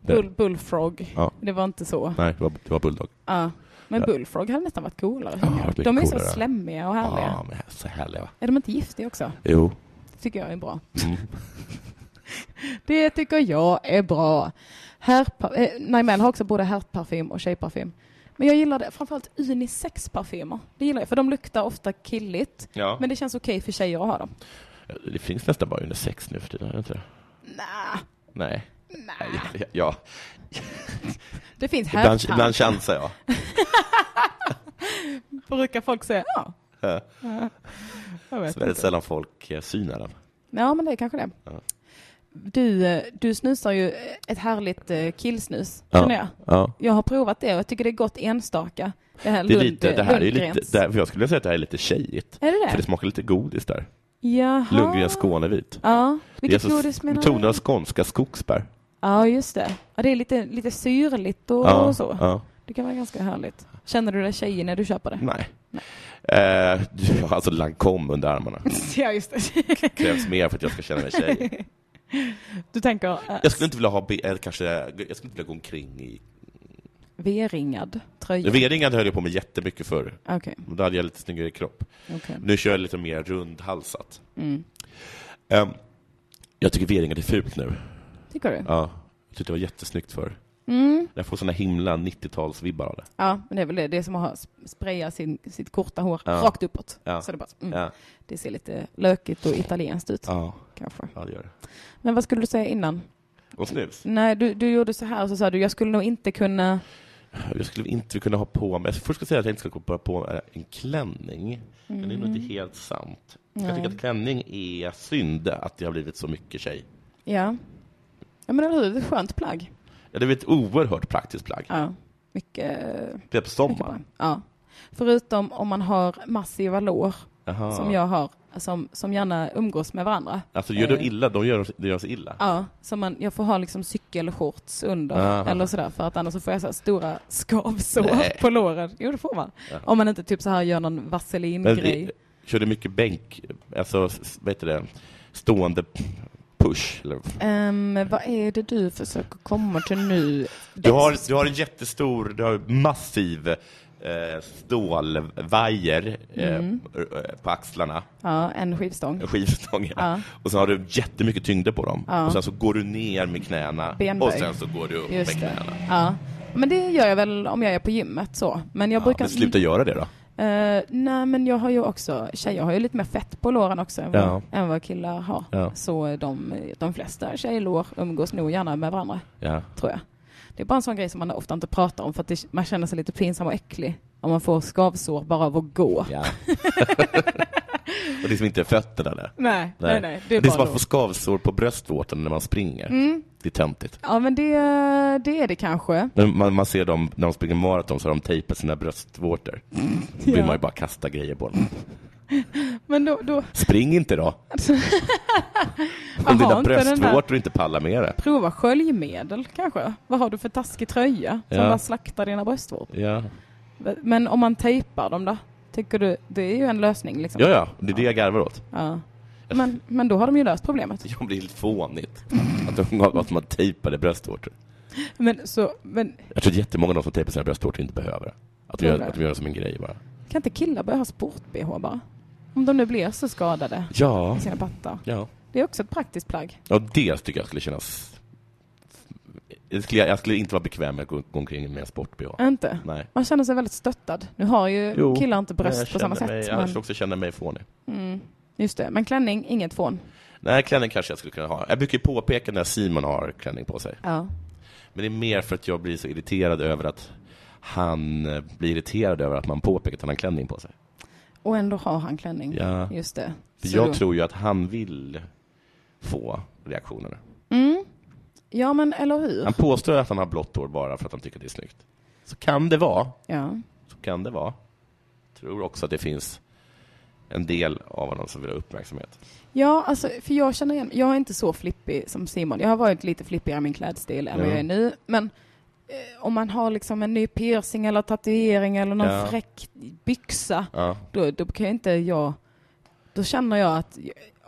det- Bull, bullfrog. Ja. Det var inte så. nej, det var, det var bulldog. Ja. Men Ja. Bullfrog hade nästan varit coolare. Ja, det hade blivit de är så coolare. slämmiga och Ja, härliga. men så härliga va? Är de inte giftiga också? Jo. Det tycker jag är bra. Mm. det tycker jag är bra. Herpa- eh, Naimel har också både herrparfym och tjejparfym. Men jag gillar det, framförallt unisexparfymer. Det gillar jag, för de luktar ofta killigt. Ja. Men det känns okej för tjejer att ha dem. Det finns nästan bara unisex nu för tiden, är det inte det? Nej. Nej. Ja, ja. Det finns Ibland, herrparfym. ibland chansar jag. Brukar folk säga ja. Jag vet Så väldigt sällan folk eh, synar den. Ja, men det är kanske det. Du, eh, du snusar ju ett härligt eh, killsnus, känner jag. ja. Jag har provat det och jag tycker det är gott enstaka. Det här, Det, är Lund- lite, det här är ju lite, Lundgrens. det här, för jag skulle säga att det här är lite tjejigt. Är det det? För det smakar lite godis där. Jaha. Lundgrens Skånevit. Ja, Det är alltså vilket godis menar du? toner av skånska skogsbär. Ja, just det. Ja, det är lite, lite syrligt och, Ja, och så. ja. Det kan vara ganska härligt. Känner du dig tjejig när du köper det? Nej. Eh, du har alltså Lancome under armarna. Ja, just det. krävs mer för att jag ska känna mig tjej. Du tänker eh, Jag skulle inte vilja ha, be- eh, kanske, jag skulle inte vilja gå omkring i... V-ringad tröja. V-ringar höll jag på med jättemycket förr. Okej, Men Då hade jag lite snyggare kropp. okej. Mm. Nu kör jag lite mer rundhalsat. Ehm, jag tycker V-ringar är fult nu. Tycker du? Ja, jag tyckte det var jättesnyggt förr. Mm. Jag får såna himla 90-talsvibbar av det. Ja, men det är väl det, det är som att ha- sp- spraya sin, sitt korta hår rakt uppåt. Ja. Så det, bara, mm. Ja. det ser lite lökigt och italienskt ut Ja, kanske. ja, det gör det. Men vad skulle du säga innan? Och snus. Nej, du, du gjorde så här och så sa du jag skulle nog inte kunna... Jag skulle inte kunna ha på mig... Först ska jag säga att jag inte ska ha på mig en klänning. Men det är nog Mm. inte helt sant. Jag tycker att klänning är synd att det har blivit så mycket tjej. Ja. Ja men eller hur, det är ett skönt plagg. Ja, det är ett oerhört praktiskt plagg. Ja. Mycket, Det är på mycket bra. sommaren. Ja. Förutom om man har massiva lår Jaha. som jag har, som, som gärna umgås med varandra. Alltså, gör du Eh, illa, de gör, de gör sig illa. Ja, så man, jag får ha liksom cykelshorts under Aha. eller sådär för att annars så får jag så här stora skavsår Nej. på låren. Jo det får man. Om man inte typ så här gör någon Men vaselingrej. i- körde mycket bänk, alltså, s- vad heter det, stående push. Eller... Ehm, vad är det du försöker komma till nu? Du, har, du har en jättestor, du har massiv eh, stålvajer eh, Mm. eh, på axlarna, Ja, en skivstång. skivstångar, och så har du jättemycket tyngder på dem. Och sen så går du ner med knäna, Benböj. och sen så går du upp Just med det. knäna. Ja. Men det gör jag väl om jag är på gymmet så. Men jag Ja, brukar... men sluta göra det då. Eh, nej men jag har ju också, tjejer har ju lite mer fett på låren också än, Ja. vad, än vad killar har. Ja. Så de, de flesta tjejlår umgås nog gärna med varandra. Ja. tror jag. Det är bara en sån grej som man ofta inte pratar om för att det, man känner sig lite pinsam och äcklig om man får skavsår bara av att gå. Ja. och liksom inte fötterna där. Nej, nej, nej. Det är, bara som att få då. Mm. skavsår på bröstvårtan när man springer. Det är töntigt. Ja, men det, det är det kanske. När Man, man ser dem, när de springer maraton så har de tejpat sina bröstvårtor. Då vill man ju bara kasta grejer på dem. Men då, då Spring inte då. Om Jaha, dina inte den där. bröstvårtor inte pallar med det. prova sköljmedel kanske. Vad har du för taskig tröja som Ja. bara slaktar dina bröstvårtor? Ja, Men om man tejpar dem då? Tycker du, det är ju en lösning liksom. ja, ja. det är det jag garvar åt. Ja. Men, men då har de ju löst problemet. Jag blir helt fånigt. Att de att man tejpade bröstvårtor. Men så, men Jag tror jättemånga av de som tejpar sina bröstvårtor inte behöver det. Att de gör, att de gör det som en grej bara. kan inte killar börja ha sport-bh bara? Om de nu blir så skadade Ja, i sina pattar. ja. Det är också ett praktiskt plagg. Ja, det tycker jag skulle kännas... Jag skulle, jag skulle inte vara bekväm med att gå, gå omkring med en sport-bh. Inte? Nej. Man känner sig väldigt stöttad. Nu har ju Jo, killar inte bröst Jag på samma känner mig, sätt. Jag Men, Mm. skulle också känna mig fånig. just det. Men klänning, inget fån. Nej, klänning kanske jag skulle kunna ha. Jag brukar ju påpeka när Simon har klänning på sig. Ja. Men det är mer för att jag blir så irriterad över att han eh, blir irriterad över att man påpekar att han har klänning på sig. Och ändå har han klänning. Ja. Just det. För Så jag då- tror ju att han vill få reaktioner. Mm. Ja, men eller hur? Han påstår att han har blått hår bara för att han tycker det är snyggt. Så kan det vara. Ja. Så kan det vara. Tror också att det finns en del av honom som vill ha uppmärksamhet. Ja, alltså, för jag känner igen, jag är inte så flippig som Simon. Jag har varit lite flippigare i min klädstil än vad Ja. jag är nu. Men eh, om man har liksom en ny piercing eller tatuering eller någon Ja. fräck byxa, Ja. då, då kan jag inte jag... Då känner jag att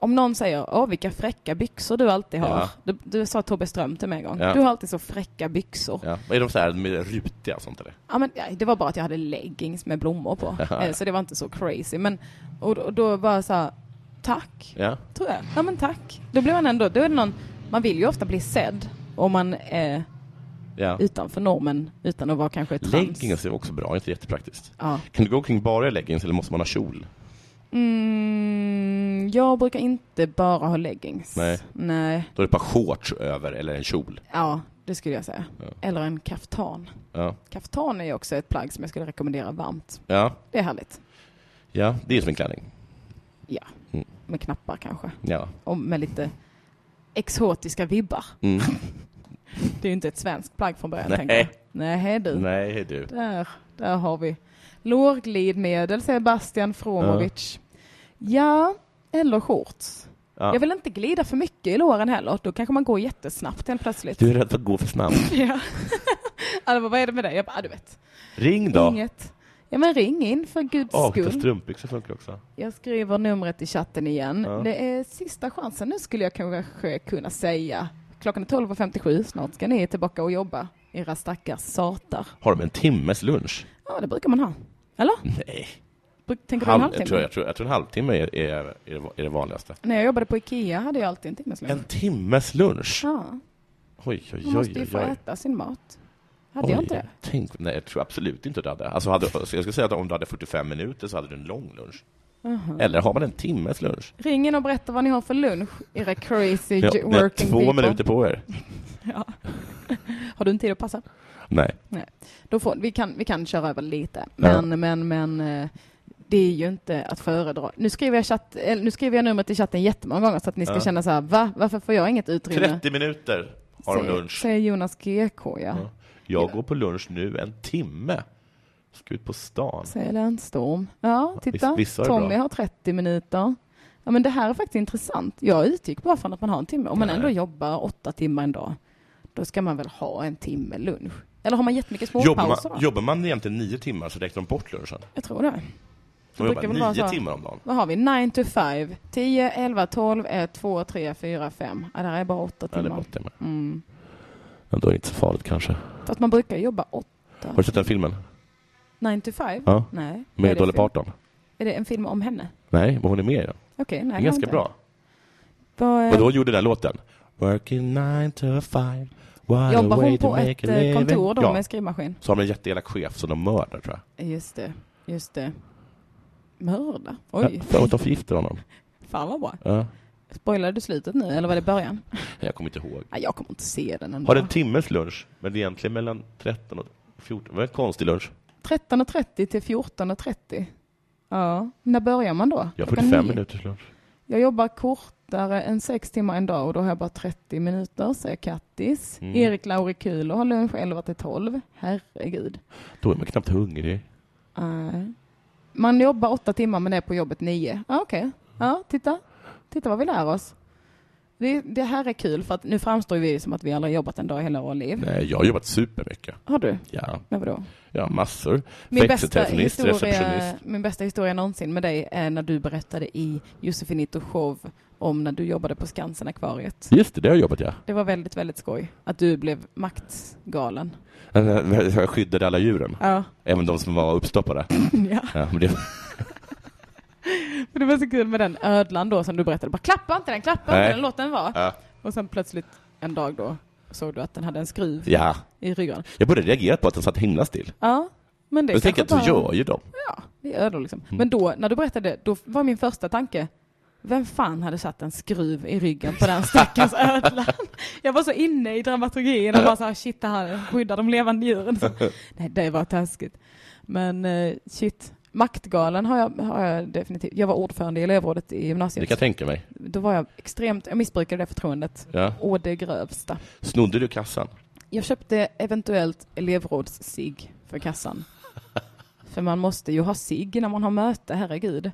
om någon säger åh vilka fräcka byxor du alltid har. Ja. Du, du sa Tobbe Ström till mig en gång. Ja. Du har alltid så fräcka byxor. Ja. Ja. Vad Är de så här med rutiga och sånt eller? men, ja, det var bara att jag hade leggings med blommor på. Ja. Eh, Så det var inte så crazy. Men, och, och då bara så här, tack Ja. tror jag. Ja men tack. Då blir man ändå, då är det någon, man vill ju ofta bli sedd om man är ja. utanför normen utan att vara kanske trans. Leggings är också bra, inte jättepraktiskt. Ja. Kan du gå omkring bara i leggings eller måste man ha kjol? Mm, jag brukar inte bara ha leggings. Nej. Nej. Då är det ett par shorts över eller en kjol. Ja, det skulle jag säga. Ja. Eller en kaftan. Ja. Kaftan är ju också ett plagg som jag skulle rekommendera varmt. Ja. Det är härligt. ja, det är som en klänning. Ja. Mm. Med knappar kanske. Ja. Och med lite exotiska vibbar. Mm. Det är ju inte ett svenskt plagg från början Nej. tänker jag. Nej du. Nej, du. Där, där har vi. Lårglidmedel, säger Bastian Fromovic. Ja, eller shorts. Ja. Jag vill inte glida för mycket i låren heller. Då kanske man går jättesnabbt helt plötsligt. Du är rädd för att gå för snabbt. Ja. alltså, vad är det med det? Jag bara, ah, du vet. Ring då. Inget. Ja, men ring in för guds Avklippta skull. strumpbyxor funkar också. Jag skriver numret i chatten igen. Ja. Det är sista chansen nu skulle jag kanske kunna säga. Klockan är 12.57. Snart ska ni tillbaka och jobba, era stackars satar. Har de en timmes lunch? Ja, det brukar man ha. Eller? Nej. Bruk- Tänker du en Halv, jag, halvtimme? tror, jag, tror, jag tror en halvtimme är, är, är, är det vanligaste. När jag jobbade på Ikea hade jag alltid en timmes lunch. En timmes lunch? Ja, Oj, oj, man oj. måste ju oj, få oj. äta sin mat. Hade oj. jag inte det? Tänk, nej, jag tror absolut inte du hade. Alltså hade så jag skulle säga att om du hade 45 minuter så hade du en lång lunch. Eller har man en timmes lunch? Ring in och berätta vad ni har för lunch, era crazy Ni har, j- ni har working två people. minuter på er. Har du en tid att passa? Nej. Då får, vi, kan, vi kan köra över lite. Men, men, men eh, det är ju inte att föredra. Nu skriver jag, chatt, eller, nu skriver jag numret i chatten jättemånga gånger så att ni ska Ja. känna så här, va? Varför får jag inget utrymme? 30 minuter har de lunch. Säger Jonas GK, ja. Ja. Jag går på lunch nu en timme. Ska ut på stan. Säger Lönnstorm. Ja, titta. vis- vissa är Tommy bra. har 30 minuter. Ja, men det här är faktiskt intressant. Jag utgick bara från att man har en timme. Om man Nej. ändå jobbar åtta timmar en dag, då ska man väl ha en timme lunch? Eller har man jättemycket Jobbar småpauser? man, då? jobbar man egentligen nio timmar så räknar de bort lunchen. Jag tror det. De brukar jobbar väl vara så nio här. timmar om dagen. Vad har vi? 9 to 5. 10, 11, 12, 1, 2, 3, 4, 5. Ja, det här är bara åtta Ja, det är timmar. åtta timmar. Mm. Men då är det inte så farligt kanske. Har För att man brukar jobba åtta. du sett den filmen? 9 to 5? Ja. Nej. Är Med det Dolly film- Parton? Är det en film om henne? Nej, men hon är med i den. Okej, nej. Det det är har ganska inte. bra. Vad, eh, Och då gjorde den låten. Working nine to five. What a eh, Jobbar way hon to på make ett a living. eh, kontor då ja. med skrivmaskin? Så har de en jätteelak chef som de mördar tror jag. Just det, just det. Mörda? Ja, Oj, för att de förgiftar honom. fan vad bra. Ja. Spoilade du slutet nu, eller var det början? Jag kommer inte ihåg. Nej, jag kommer inte se den ändå. Har en timmes lunch, men det är egentligen mellan 13 och 14. Det var en konstig lunch. 13.30 till 14.30. Ja, när börjar man då? Jag har Klockan 45 nio. minuters lunch. Jag jobbar kortare än sex timmar en dag och då har jag bara 30 minuter, säger Kattis. Mm. Erik Laurikulo har lunch 11 till 12. Herregud. Då är man knappt hungrig. Nej. Man jobbar åtta timmar men är på jobbet nio. Ja, Okej, Mm. ja, titta. titta vad vi lär oss. Det, det här är kul för att nu framstår ju vi som att vi aldrig har jobbat en dag i hela våra liv. Nej, jag har jobbat supervecka. Har du? Ja, Men vadå? ja massor. Min bästa, Växeltelefonist, historia, receptionist. min bästa historia någonsin med dig är när du berättade i Josefinito show om när du jobbade på Skansen-akvariet. Just det, det har jag jobbat, ja. Det var väldigt, väldigt skoj att du blev maktgalen. Jag skyddade alla djuren, Ja. även de som var uppstoppade. ja. Ja, men det... För det var så kul med den ödlan då som du berättade. Bara klappa inte den, klappa inte Nej. den, låt den vara. Ja. Och sen plötsligt en dag då såg du att den hade en skruv ja. i ryggen. Jag borde reagera på att de satt himla still. Ja, men det Jag tänker att kanske du gör ju dem. Ja, det är ödlor liksom. Men då, när du berättade, då var min första tanke vem fan hade satt en skruv i ryggen på den stackars ödlan? Jag var så inne i dramaturgin och bara så här, shit det här skyddar de levande djuren. Så, nej, det var taskigt. Men eh, shit, maktgalen har jag, har jag definitivt. Jag var ordförande i elevrådet i Det gymnasiet. kan jag tänka mig. Då var jag extremt, jag missbrukade det förtroendet. Ja. Å det grövsta. Snodde du kassan? Jag köpte eventuellt elevråds-sig för kassan. För man måste ju ha sig när man har möte, herregud.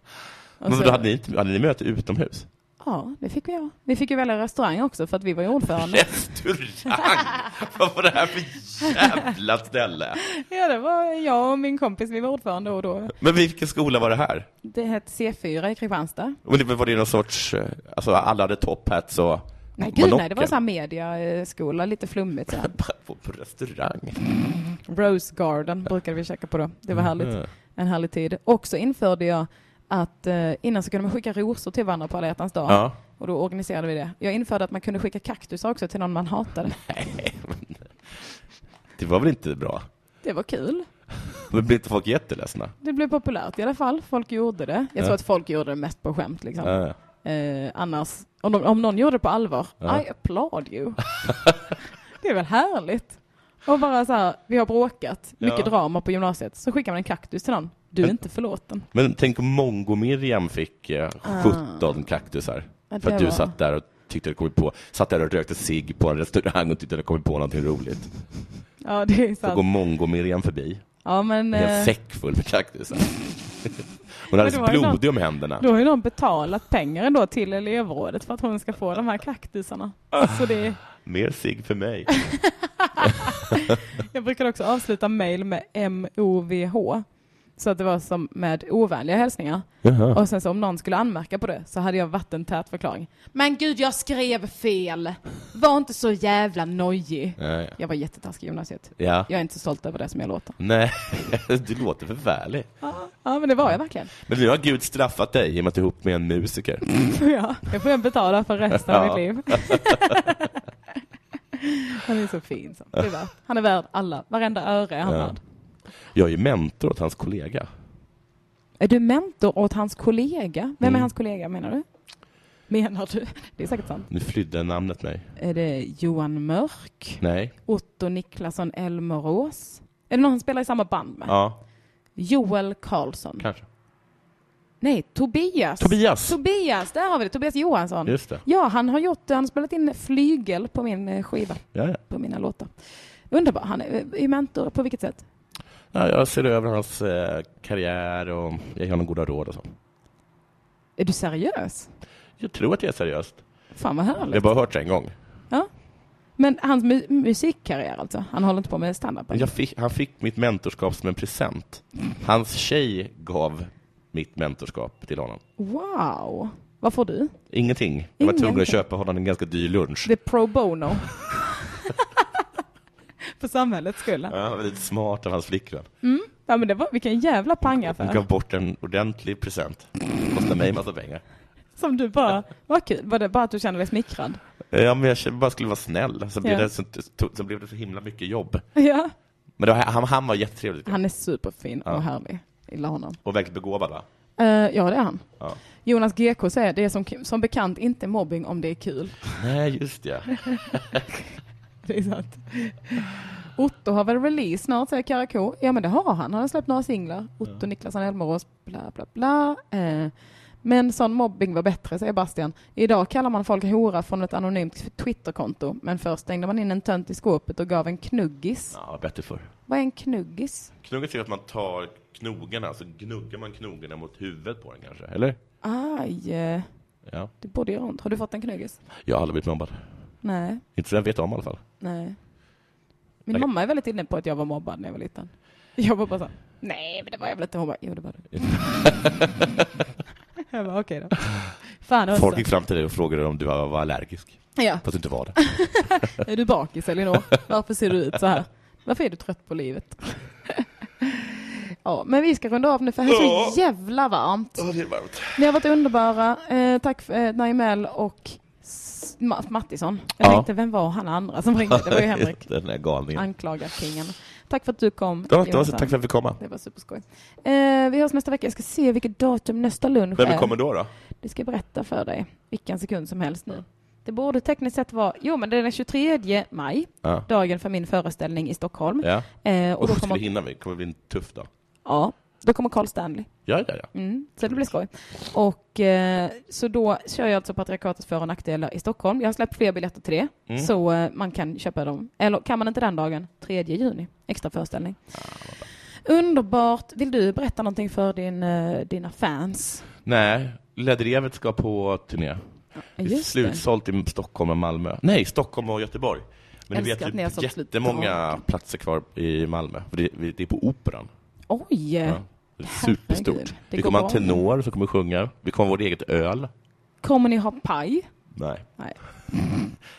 Och Men så- då hade ni, inte- hade ni möte utomhus? Ja, det fick vi ha. Vi fick ju välja restaurang också för att vi var ju ordförande. Restaurang! Vad var det här för jävla ställe? ja, det var jag och min kompis, vi var ordförande och då. Men vilken skola var det här? Det hette C4 i Kristianstad. Och det var det någon sorts, eh, alltså alla hade top hats och Nej, gud nej, det monokel. var så här mediaskola, lite flummigt så här. På, på restaurang. Rose Garden brukade vi käka på då. Det var härligt. En härlig tid. Och så införde jag att eh, innan så kunde man skicka rosor till varandra på alla hjärtans dag. Ja. Och då organiserade vi det. Jag införde att man kunde skicka kaktusar också till någon man hatade. Det var väl inte bra? Det var kul. Men blev inte folk jätteledsna? Det blev populärt i alla fall. Folk gjorde det. Jag Ja. tror att folk gjorde det mest på skämt liksom. Ja. Eh, annars, om, de, om någon gjorde det på allvar, Ja. I applaud you. det är väl härligt? Och bara så här, vi har bråkat, mycket Ja. drama på gymnasiet, så skickar man en kaktus till någon. Du är inte förlåten. Men tänk om Mongo-Miriam fick eh, 17 kaktusar. Ja, Ah. För det att du var- satt där och tyckte du kommit på, satt där och rökte cigg på en restaurang och tyckte du kommit på någonting roligt. Ja, det är Då går sant. Mongo-Miriam förbi, Ja, men med en eh, säck full med kaktusar. Hon hade det så var ju någon- blodig om händerna. då har ju de betalat pengar ändå till elevrådet för att hon ska få de här kaktusarna. Ah. Så det är... Mer cigg för mig. Jag brukar också avsluta mejl med MOVH. Så att det var som med ovänliga hälsningar. Och sen så om någon skulle anmärka på det så hade jag vattentät förklaring. Men gud, jag skrev fel! Var inte så jävla nojig. Ja, ja. Jag var jättetaskig i gymnasiet. ja. Jag är inte så stolt över det som jag låter. Nej, du låter förfärlig. Ja, men det var jag verkligen. Men nu har Gud straffat dig genom att du är ihop med en musiker. Ja, det får jag betala för resten av Ja. mitt liv. Han är så fin. Så. Det är värt. Han är värd alla. Varenda öre är han Ja. värd. Jag är ju mentor åt hans kollega. Är du mentor åt hans kollega? Vem är hans kollega menar du? Menar du? Det är säkert sant. Nu flydde namnet mig. Är det Johan Mörk? Nej. Otto Niklasson Elmerås? Är det någon han spelar i samma band med? Ja, Joel Karlsson? kanske. Nej, Tobias. Tobias! Tobias, där har vi det. Tobias Johansson. Just det. Ja, han har gjort, han har spelat in Flygel på min eh, skiva, Ja, ja. på mina låtar. Underbar. Han är eh, är mentor på vilket sätt? Ja, jag ser över hans eh, karriär och jag ger honom goda råd och så. Är du seriös? Jag tror att det är seriöst. Fan vad härligt. Jag har bara hört det en gång. Men hans mu- musikkarriär alltså? Han håller inte på med standup? Jag fick, han fick mitt mentorskap som en present. Hans tjej gav mitt mentorskap till honom. Wow! Vad får du? Ingenting. Jag var tvungen att Ingenting. köpa honom en ganska dyr lunch. Det är pro bono. För samhällets skull. Ja, väldigt smart av hans flickvän. Ja men det var, vilken jävla Hon pangaffär. gav bort en ordentlig present. Kostade mig en massa pengar. Som du bara, vad kul. Var det bara att du kände dig smickrad? Eh, Ja, men jag kände bara skulle vara snäll. Sen blev, Ja. det, så, to, sen blev det så himla mycket jobb. Ja. Men det, var- han, han var jättetrevlig. Han är superfin och Ja. härlig. Gillar honom. Och verkligen begåvad, va? Eh, ja det är han. Ja. Jonas GK säger, det är som, som bekant inte mobbing om det är kul. Nej, just det. Det är sant. Otto har väl release snart, säger Karako. Ja, men det har han. Han har släppt några singlar. Otto Niklasson Elmerås, bla bla bla. Eh, Men sån mobbing var bättre, säger Bastian. Idag kallar man folk hora från ett anonymt Twitterkonto, men först stängde man in en tönt i skåpet och gav en knuggis. Ja, bättre förr. Vad är en knuggis? Knugget är att man tar knogarna, så gnuggar man knogarna mot huvudet på den kanske, eller? Aj, eh, Ja. det borde göra ont. Har du fått en knuggis? Jag har aldrig blivit mobbad. Nej, Inte så jag vet om i alla fall. nej. Min Nej. mamma är väldigt inne på att jag var mobbad när jag var liten. Jag var bara så här, nej men det var jag väl inte. Hon bara, jo det var du. jag bara, okej då. Fan också. Folk gick fram till dig och frågade om du var allergisk, Ja, fast du inte var det. är du bakis Elinor? Varför ser du ut så här? Varför är du trött på livet? ja, men vi ska runda av nu för här är så jävla varmt. Ja, det är varmt. Ni har varit underbara. Eh, tack för, eh, Naimel och S- Ma- Mattisson. Jag Ja. tänkte, vem var han andra som ringde? Det var ju Henrik, Den där galningen. anklagarkingen. Tack för att du kom. Ja, det var så, Jonathan. tack för att jag fick komma. det var superskoj. Eh, vi hörs nästa vecka. Jag ska se vilket datum nästa lunch Vem är. kommer då? då? Det ska jag berätta för dig vilken sekund som helst nu. Det borde tekniskt sett vara, jo men det är den 23 maj, Ja. dagen för min föreställning i Stockholm. Ja. Eh, och då Usch, det kommer, hinner vi. Det kommer bli en tuff dag. ja, då kommer Carl Stanley. Ja, ja, ja. Mm, så det blir skoj. Och eh, så då kör jag alltså patriarkatets för och nackdelar i Stockholm. Jag har släppt fler biljetter till det, Mm. så eh, man kan köpa dem. Eller kan man inte den dagen, 3 juni, extra föreställning. Ah, Underbart. Vill du berätta någonting för din, eh, dina fans? Nej, Ledrevet ska på turné. Det är Just det. slutsålt i Stockholm och Malmö. Nej, Stockholm och Göteborg. Men ni Älskar vet att ni ju har sålt jättemånga slut. platser kvar i Malmö. För det, det är på Operan. Oj! Ja. Det är superstort. Herregud, det vi går kommer ha bra. en tenor som kommer sjunga. Vi kommer ha vårt eget öl. Kommer ni ha paj? Nej, Nej.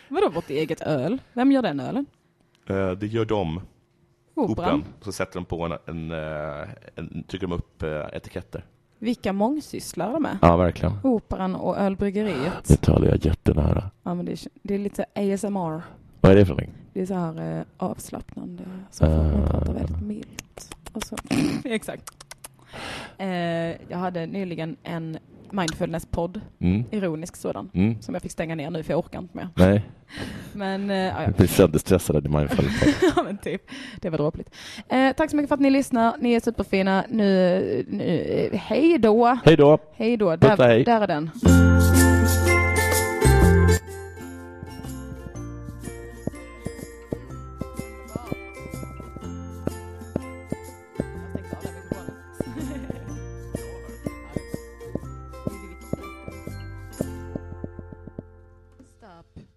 Vadå vårt eget öl? Vem gör den ölen? Eh, det gör de. Operan. Operan. Så sätter de på en, en, eh, en trycker de upp eh, etiketter. Vilka mångsysslar de är. Ja, verkligen. Operan och ölbryggeriet. Det talar jag jättenära. Ja, men det, är, det är lite ASMR. Vad är det för någonting? Det är så här eh, avslappnande. Så får man prata väldigt milt. Och så. Exakt. Eh, jag hade nyligen en mindfulness-podd, Mm. ironisk sådan, Mm. som jag fick stänga ner nu för jag orkar inte mer. Nej, Men, eh, ja, ja. jag blir sönderstressad i mindfulness. Ja, men typ. Det var dråpligt. Eh, tack så mycket för att ni lyssnar. Ni är superfina. Nu, nu eh, hej då! Hej då! Hej då! Putta, hej. Där, där är den. Stop.